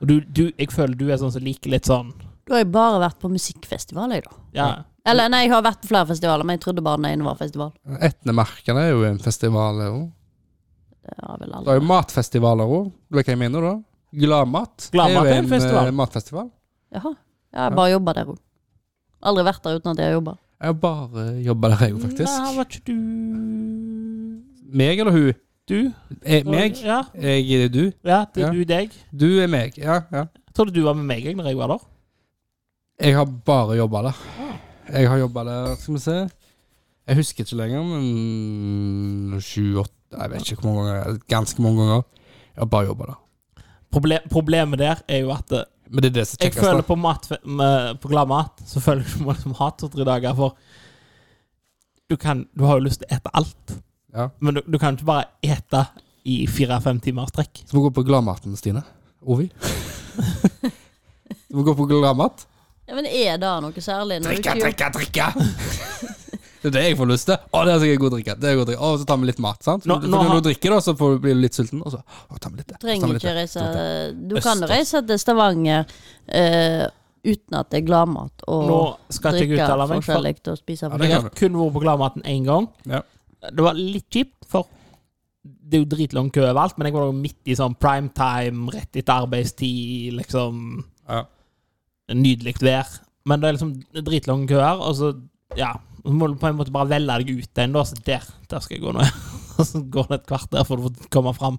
Speaker 3: Og du, du, jeg føler du er sånn som liker litt sånn
Speaker 2: Da har jeg bare vært på musikkfestival, jeg, da.
Speaker 3: Ja,
Speaker 2: Eller nei, jeg har vært på flere festivaler, men jeg trodde bare den ene var festival.
Speaker 1: Etnemerkene er jo en festival. det er jo.
Speaker 2: Det har vel
Speaker 1: Det er jo
Speaker 2: aldri.
Speaker 1: matfestivaler òg, vet du hva jeg mener da? Gladmat
Speaker 3: Gladmat
Speaker 1: er
Speaker 3: er
Speaker 1: jo
Speaker 3: en
Speaker 1: en
Speaker 3: festival.
Speaker 1: eh, matfestival.
Speaker 2: Jaha. Ja, jeg bare jobba der òg. Aldri vært der uten at jeg har jobba.
Speaker 1: Jeg har bare jobba der, jeg jo,
Speaker 3: Nei,
Speaker 1: faktisk.
Speaker 3: var ikke du
Speaker 1: Meg eller hun?
Speaker 3: Du?
Speaker 1: Eh, meg?
Speaker 3: Ja,
Speaker 1: Jeg er du.
Speaker 3: ja det er
Speaker 1: Ja.
Speaker 3: du deg.
Speaker 1: Du er meg. Ja, ja.
Speaker 3: Jeg trodde du var med meg jeg, når jeg var der.
Speaker 1: Jeg har bare jobba der. Jeg har jobba der, skal vi se Jeg husker ikke lenger, men sju-åtte Jeg vet ikke hvor mange ganger. Ganske mange ganger. Jeg har bare jobba der.
Speaker 3: Proble problemet der er jo at eh,
Speaker 1: Men det er det som
Speaker 3: Jeg
Speaker 1: kjekkes, da.
Speaker 3: føler på, mat, med, på glad mat Så føler jeg meg som hat to-tre dager For du, kan, du har jo lyst til å ete alt
Speaker 1: Ja.
Speaker 3: Men du, du kan ikke bare ete i fire-fem timer strekk
Speaker 1: Så må vi gå på Gladmaten, Stine. Ovi. Du må gå på Gladmat.
Speaker 2: Ja, men er det noe særlig? Når
Speaker 1: Drikke,
Speaker 2: du ikke
Speaker 1: drikke, drikke! Det er det jeg får lyst til. Å, det er sikkert god drikke. Det er god drikke. Å, så tar vi litt mat, sant?
Speaker 3: Nå-
Speaker 1: Nå,
Speaker 3: nå har-
Speaker 1: Når du drikker, da, så får du bli litt sulten, og så å, tar vi litt.
Speaker 2: gjør- trenger ikke reise Du kan
Speaker 1: Østers.
Speaker 2: reise til Stavanger eh, uten at det er gladmat og
Speaker 3: Nå skal ikke jeg
Speaker 2: drikke
Speaker 3: uttale meg for
Speaker 2: forskjellig og spise
Speaker 1: Ja,
Speaker 2: for
Speaker 1: det
Speaker 3: Jeg
Speaker 1: kan
Speaker 3: har kun vært på gladmaten en gang
Speaker 1: Ja.
Speaker 3: Det var litt kjipt For det er jo dritlang kø overalt Men jeg var jo midt i sånn prime time Rett etter arbeidstid Liksom
Speaker 1: Ja.
Speaker 3: nydelig vær. Men det er liksom dritlange køer, og så ja, så må du på en måte bare velge deg ut en, da. Så der, der skal jeg gå nå. Og så går det et kvarter for du får komme fram.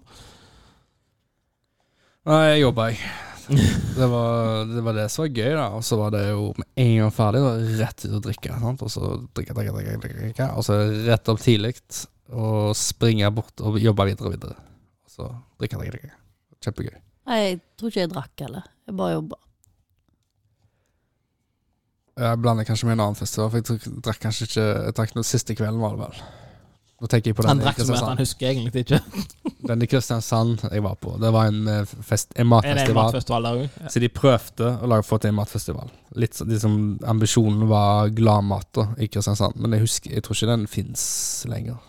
Speaker 1: Nei, jeg jobba, jeg. Det var, det var det som var gøy, da. Og så var det jo med en gang ferdig, da, rett ut og drikke. Sant? Og så drikke, drikke, drikke, drikke, drikke. Og så rett opp tidlig og springe bort og jobbe videre og videre. Og så drikke, drikke, drikke. Kjempegøy.
Speaker 2: Nei, jeg tror ikke jeg drakk heller. Jeg bare jobba.
Speaker 1: Jeg blander kanskje med en annen festival, for jeg tror- drakk kanskje ikke Jeg drakk den siste kvelden, var det vel. Nå tenker jeg på den
Speaker 3: Han
Speaker 1: i
Speaker 3: drakk så mye at han
Speaker 1: Kristiansand.
Speaker 3: husker egentlig ikke.
Speaker 1: Den i Kristiansand jeg var på. Det var en, eh, fest, en
Speaker 3: Er det en
Speaker 1: matfestival.
Speaker 3: matfestival der òg?
Speaker 1: Så de prøvde å lage få til en matfestival. Litt så- de som Ambisjonen var gladmat da, i Kristiansand, men jeg husker Jeg tror ikke den fins lenger.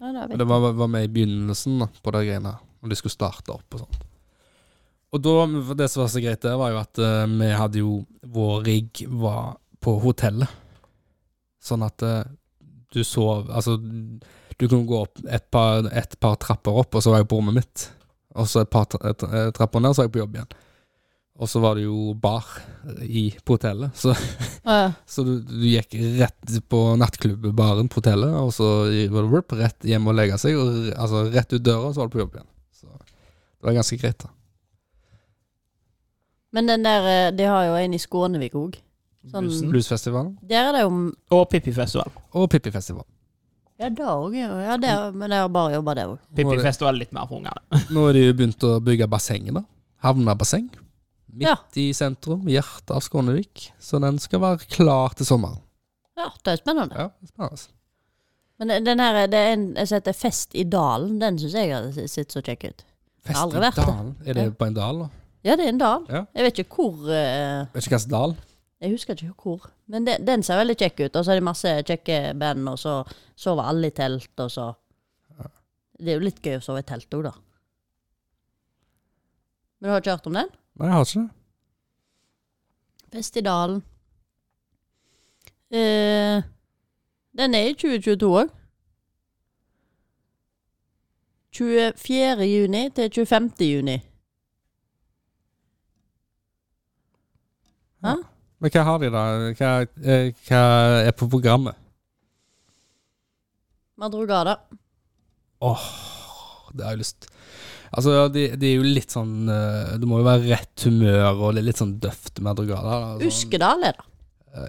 Speaker 2: Ja, det
Speaker 1: Men
Speaker 2: vet
Speaker 1: det var, var med i begynnelsen da, på de greiene her, når de skulle starte opp og sånt. Og da, for det som var så greit der, var jo at eh, vi hadde jo Vår rigg var på hotellet. Sånn at eh, du sov Altså, du kunne gå opp et par, et par trapper opp, og så var jeg på rommet mitt. Og så et par tra et- eh, trapper ned, så var jeg på jobb igjen. Og så var det jo bar i, på hotellet, så,
Speaker 2: Ja.
Speaker 1: så du, du gikk rett på nattklubbaren på hotellet, og så var det rup, rett hjem og legge seg, og r- altså rett ut døra, så var du på jobb igjen. Så det var ganske greit, da.
Speaker 2: Men den der, eh, de har jo en i Skånevik òg. Sånn,
Speaker 3: Bluesen.
Speaker 1: Bluesfestivalen
Speaker 2: der er det jo
Speaker 3: Og Pippifestival.
Speaker 1: og Pippifestival.
Speaker 2: Ja, det òg. Ja, der, men jeg har bare jobba der òg.
Speaker 3: Pippifestival er litt mer for ungene.
Speaker 1: Nå har de jo begynt å bygge basseng, da. Havnebasseng. Midt
Speaker 2: Ja.
Speaker 1: i sentrum, hjertet av Skånevik. Så den skal være klar til sommeren.
Speaker 2: Ja, det er spennende.
Speaker 1: Ja, spennende.
Speaker 2: Men den- den her, det er en jeg heter Fest i dalen. Den syns jeg har sett så kjekk ut.
Speaker 1: Fest
Speaker 2: Aldri
Speaker 1: i
Speaker 2: vært der.
Speaker 1: dalen. Er det på en dal, da?
Speaker 2: Ja, det er en dal.
Speaker 1: Ja.
Speaker 2: Jeg vet ikke hvor eh,
Speaker 1: Vet ikke hvilken dal.
Speaker 2: Jeg husker ikke hvor. Men det, den ser veldig kjekk ut. Og så er det masse kjekke band, og så sover alle i telt, og så Det er jo litt gøy å sove i telt òg, da. Men du har ikke hørt om den?
Speaker 1: Nei, jeg har ikke det.
Speaker 2: Fest i dalen. Eh, den er i 2022 òg. 24. juni til 25. juni.
Speaker 1: Men hva har de, da? Hva, eh, hva er på programmet?
Speaker 2: Madrugada.
Speaker 1: Det har jeg lyst Altså, det de er jo litt sånn eh, Det må jo være rett humør og det er litt sånn døft madrugada. da. Sånn-
Speaker 2: Uskedal er det.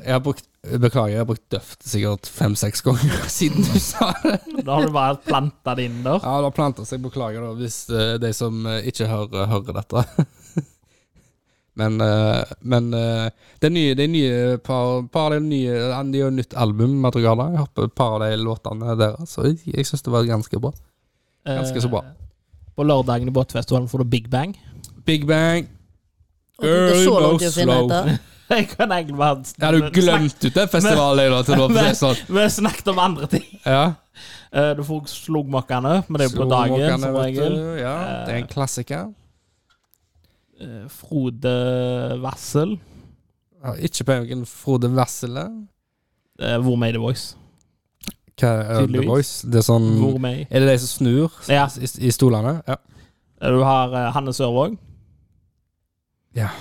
Speaker 1: Jeg har brukt Beklager, jeg har brukt døft sikkert fem-seks ganger siden du sa det.
Speaker 3: Da har du bare planta det inn der.
Speaker 1: Ja, det har planta seg. Beklager da, hvis eh, de som eh, ikke hører, hører dette. men eh, men eh, det er nye, det er nye par, par av de nye De har jo nytt album, Madrugada. Jeg hørte et par av de låtene deres, og jeg, jeg syns det var ganske bra. Ganske så bra.
Speaker 3: Eh, På lørdagen i båtfestivalen får du Big Bang.
Speaker 1: Big Bang.
Speaker 2: Og det er så
Speaker 1: Girl, no
Speaker 2: langt å finne
Speaker 1: slow.
Speaker 2: etter.
Speaker 3: Jeg kan egentlig bare
Speaker 1: Jeg hadde jo glemt ut den festivalen da, til nå, for å si det sånn.
Speaker 3: Vi har snakket om andre ting.
Speaker 1: Ja.
Speaker 3: Eh, Du får slogmokkene, men det er jo på dagen som
Speaker 1: Slowmokerne, vet
Speaker 3: regel.
Speaker 1: du. Ja, det er en klassiker.
Speaker 3: Eh, Frode Vassel.
Speaker 1: Ja, ikke på egen Frode Wessele.
Speaker 3: Eh, Hvor med i The Voice?
Speaker 1: Hva er The
Speaker 3: Tydeligvis.
Speaker 1: Voice? Det er sånn
Speaker 3: Hvor med i
Speaker 1: Er det de som snur
Speaker 3: Ja.
Speaker 1: i, i stolene? Ja.
Speaker 3: Eh, Du har eh, Hanne Sørvåg.
Speaker 1: Ja.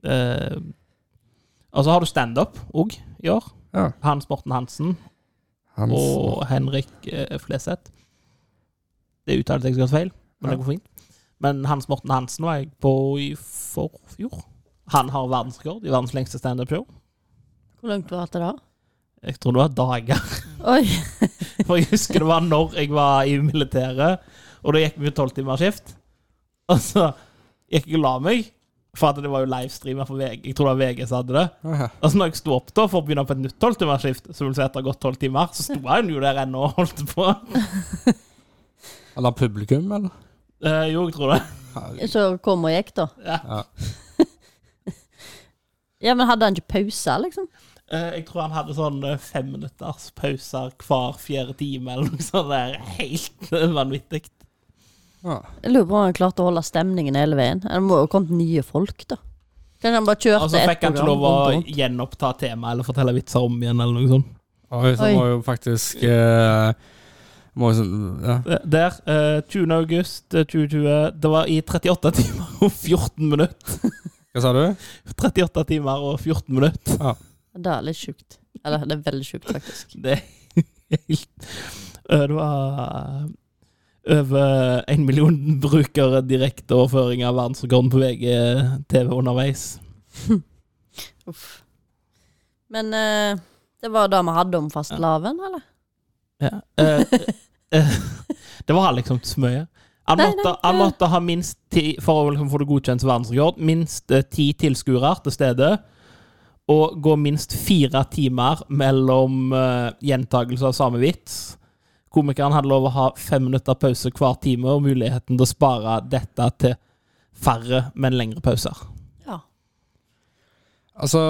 Speaker 3: Eh, og så har du standup òg i år.
Speaker 1: Ja.
Speaker 3: Hans Morten Hansen
Speaker 1: Hans.
Speaker 3: og Henrik eh, Fleseth. Det uttalte jeg sikkert feil, men
Speaker 1: Ja.
Speaker 3: det går fint. Men Hans Morten Hansen var jeg på i forfjor. Han har verdensrekord i verdens lengste standup-show.
Speaker 2: Hvor langt var det da?
Speaker 3: Jeg tror det var dager.
Speaker 2: Oi.
Speaker 3: For jeg husker det var når jeg var i militæret, og da gikk vi tolvtimersskift. Og så gikk jeg og la meg, for at det var jo livestreamer for VG. Jeg tror det var VG som hadde det.
Speaker 1: Ja.
Speaker 3: Og så når jeg sto opp da for å begynne på et nytt tolvtimersskift, så vil si etter gått tolv timer, så sto han jo der ennå og holdt på.
Speaker 1: Eller publikum, eller?
Speaker 3: Eh, jo, jeg tror det.
Speaker 2: Så kom og gikk, da.
Speaker 3: Ja.
Speaker 1: Ja.
Speaker 2: Ja, men hadde han ikke pause, liksom?
Speaker 3: Eh, jeg tror han hadde sånn eh, femminutters pauser hver fjerde time, eller noe sånt. der. Helt eh, vanvittig.
Speaker 1: Ja.
Speaker 2: Jeg lurer på om han klarte å holde stemningen hele veien. Det må jo ha kommet nye folk, da. Kanskje han bare kjørte
Speaker 3: Og så
Speaker 2: ett
Speaker 3: Altså, fikk han ikke
Speaker 2: program
Speaker 3: lov å
Speaker 2: rundt og rundt.
Speaker 3: gjenoppta temaet eller fortelle vitser om igjen, eller noe sånt.
Speaker 1: Oi, så
Speaker 2: Oi.
Speaker 1: må jo faktisk eh, må jo sånn- ja.
Speaker 3: Der. eh, 20. august eh, 2020. Det var i 38 timer og 14 minutter.
Speaker 1: Hva sa du?
Speaker 3: 38 timer og 14 minutter.
Speaker 2: Det er litt sjukt. Eller det er veldig sjukt, faktisk.
Speaker 3: Det er helt eh, Det var eh, over en million brukere direkteoverføring av verdensrekorden på VGTV underveis.
Speaker 2: Uff. Men eh, det var det vi hadde om fastelavn, eller?
Speaker 3: Ja. eh, eh, det var liksom ikke så mye. Han
Speaker 2: Nei,
Speaker 3: måtte, han måtte ha minst ti for å liksom få det godkjent som verdensrekord. Minst eh, ti tilskuere til stede. Og gå minst fire timer mellom uh, gjentakelse av samme vits. Komikeren hadde lov å ha fem minutter pause hver time, og muligheten til å spare dette til færre, men lengre pauser.
Speaker 2: Ja.
Speaker 1: Altså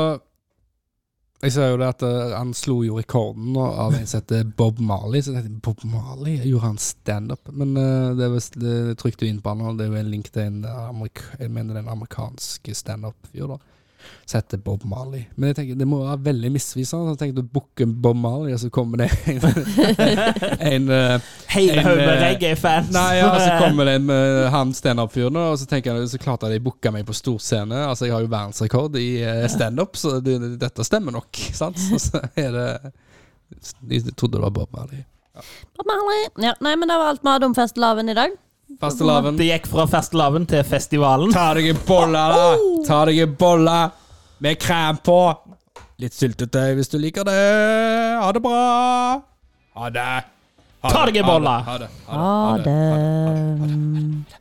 Speaker 1: Jeg ser jo det at eh, han slo jo rekorden nå av en som heter Bob Marley. Så jeg tenkte, Bob Marley gjorde han standup? Men eh, det, er visst- det det trykte jo inn på han, og det er jo en link til en, amerik jeg mener det er en amerikansk standup-fyr. da Som heter Bob Marley. Men jeg tenker, det må være veldig misvisende. Jeg tenkte du booker Bob Marley, og så kommer det en, en eh,
Speaker 3: Hele
Speaker 1: En,
Speaker 3: haugen med
Speaker 1: eh,
Speaker 3: reggae-fans.
Speaker 1: Nei, ja, altså, så kommer det med han standup-fyren, og så tenker jeg, så klart hadde jeg booka meg på storscene. Altså, jeg har jo verdensrekord i eh, standup, så det, dette stemmer nok. Sant? Så, så er det De trodde det var Bob Marley.
Speaker 2: Ja, nei, men det var alt vi hadde om festlaven i dag.
Speaker 1: Fastelavn.
Speaker 3: Det gikk fra fastelavn til festivalen.
Speaker 1: Ta deg en bolle, da! Ta deg en bolle med krem på! Litt syltetøy hvis du liker det. Ha det bra! Ha det. Ha
Speaker 3: Ta
Speaker 1: det,
Speaker 3: deg en
Speaker 1: ha
Speaker 3: bolle.
Speaker 1: det, Ha det.
Speaker 2: Ha det.
Speaker 1: ha det, ha det, ha det.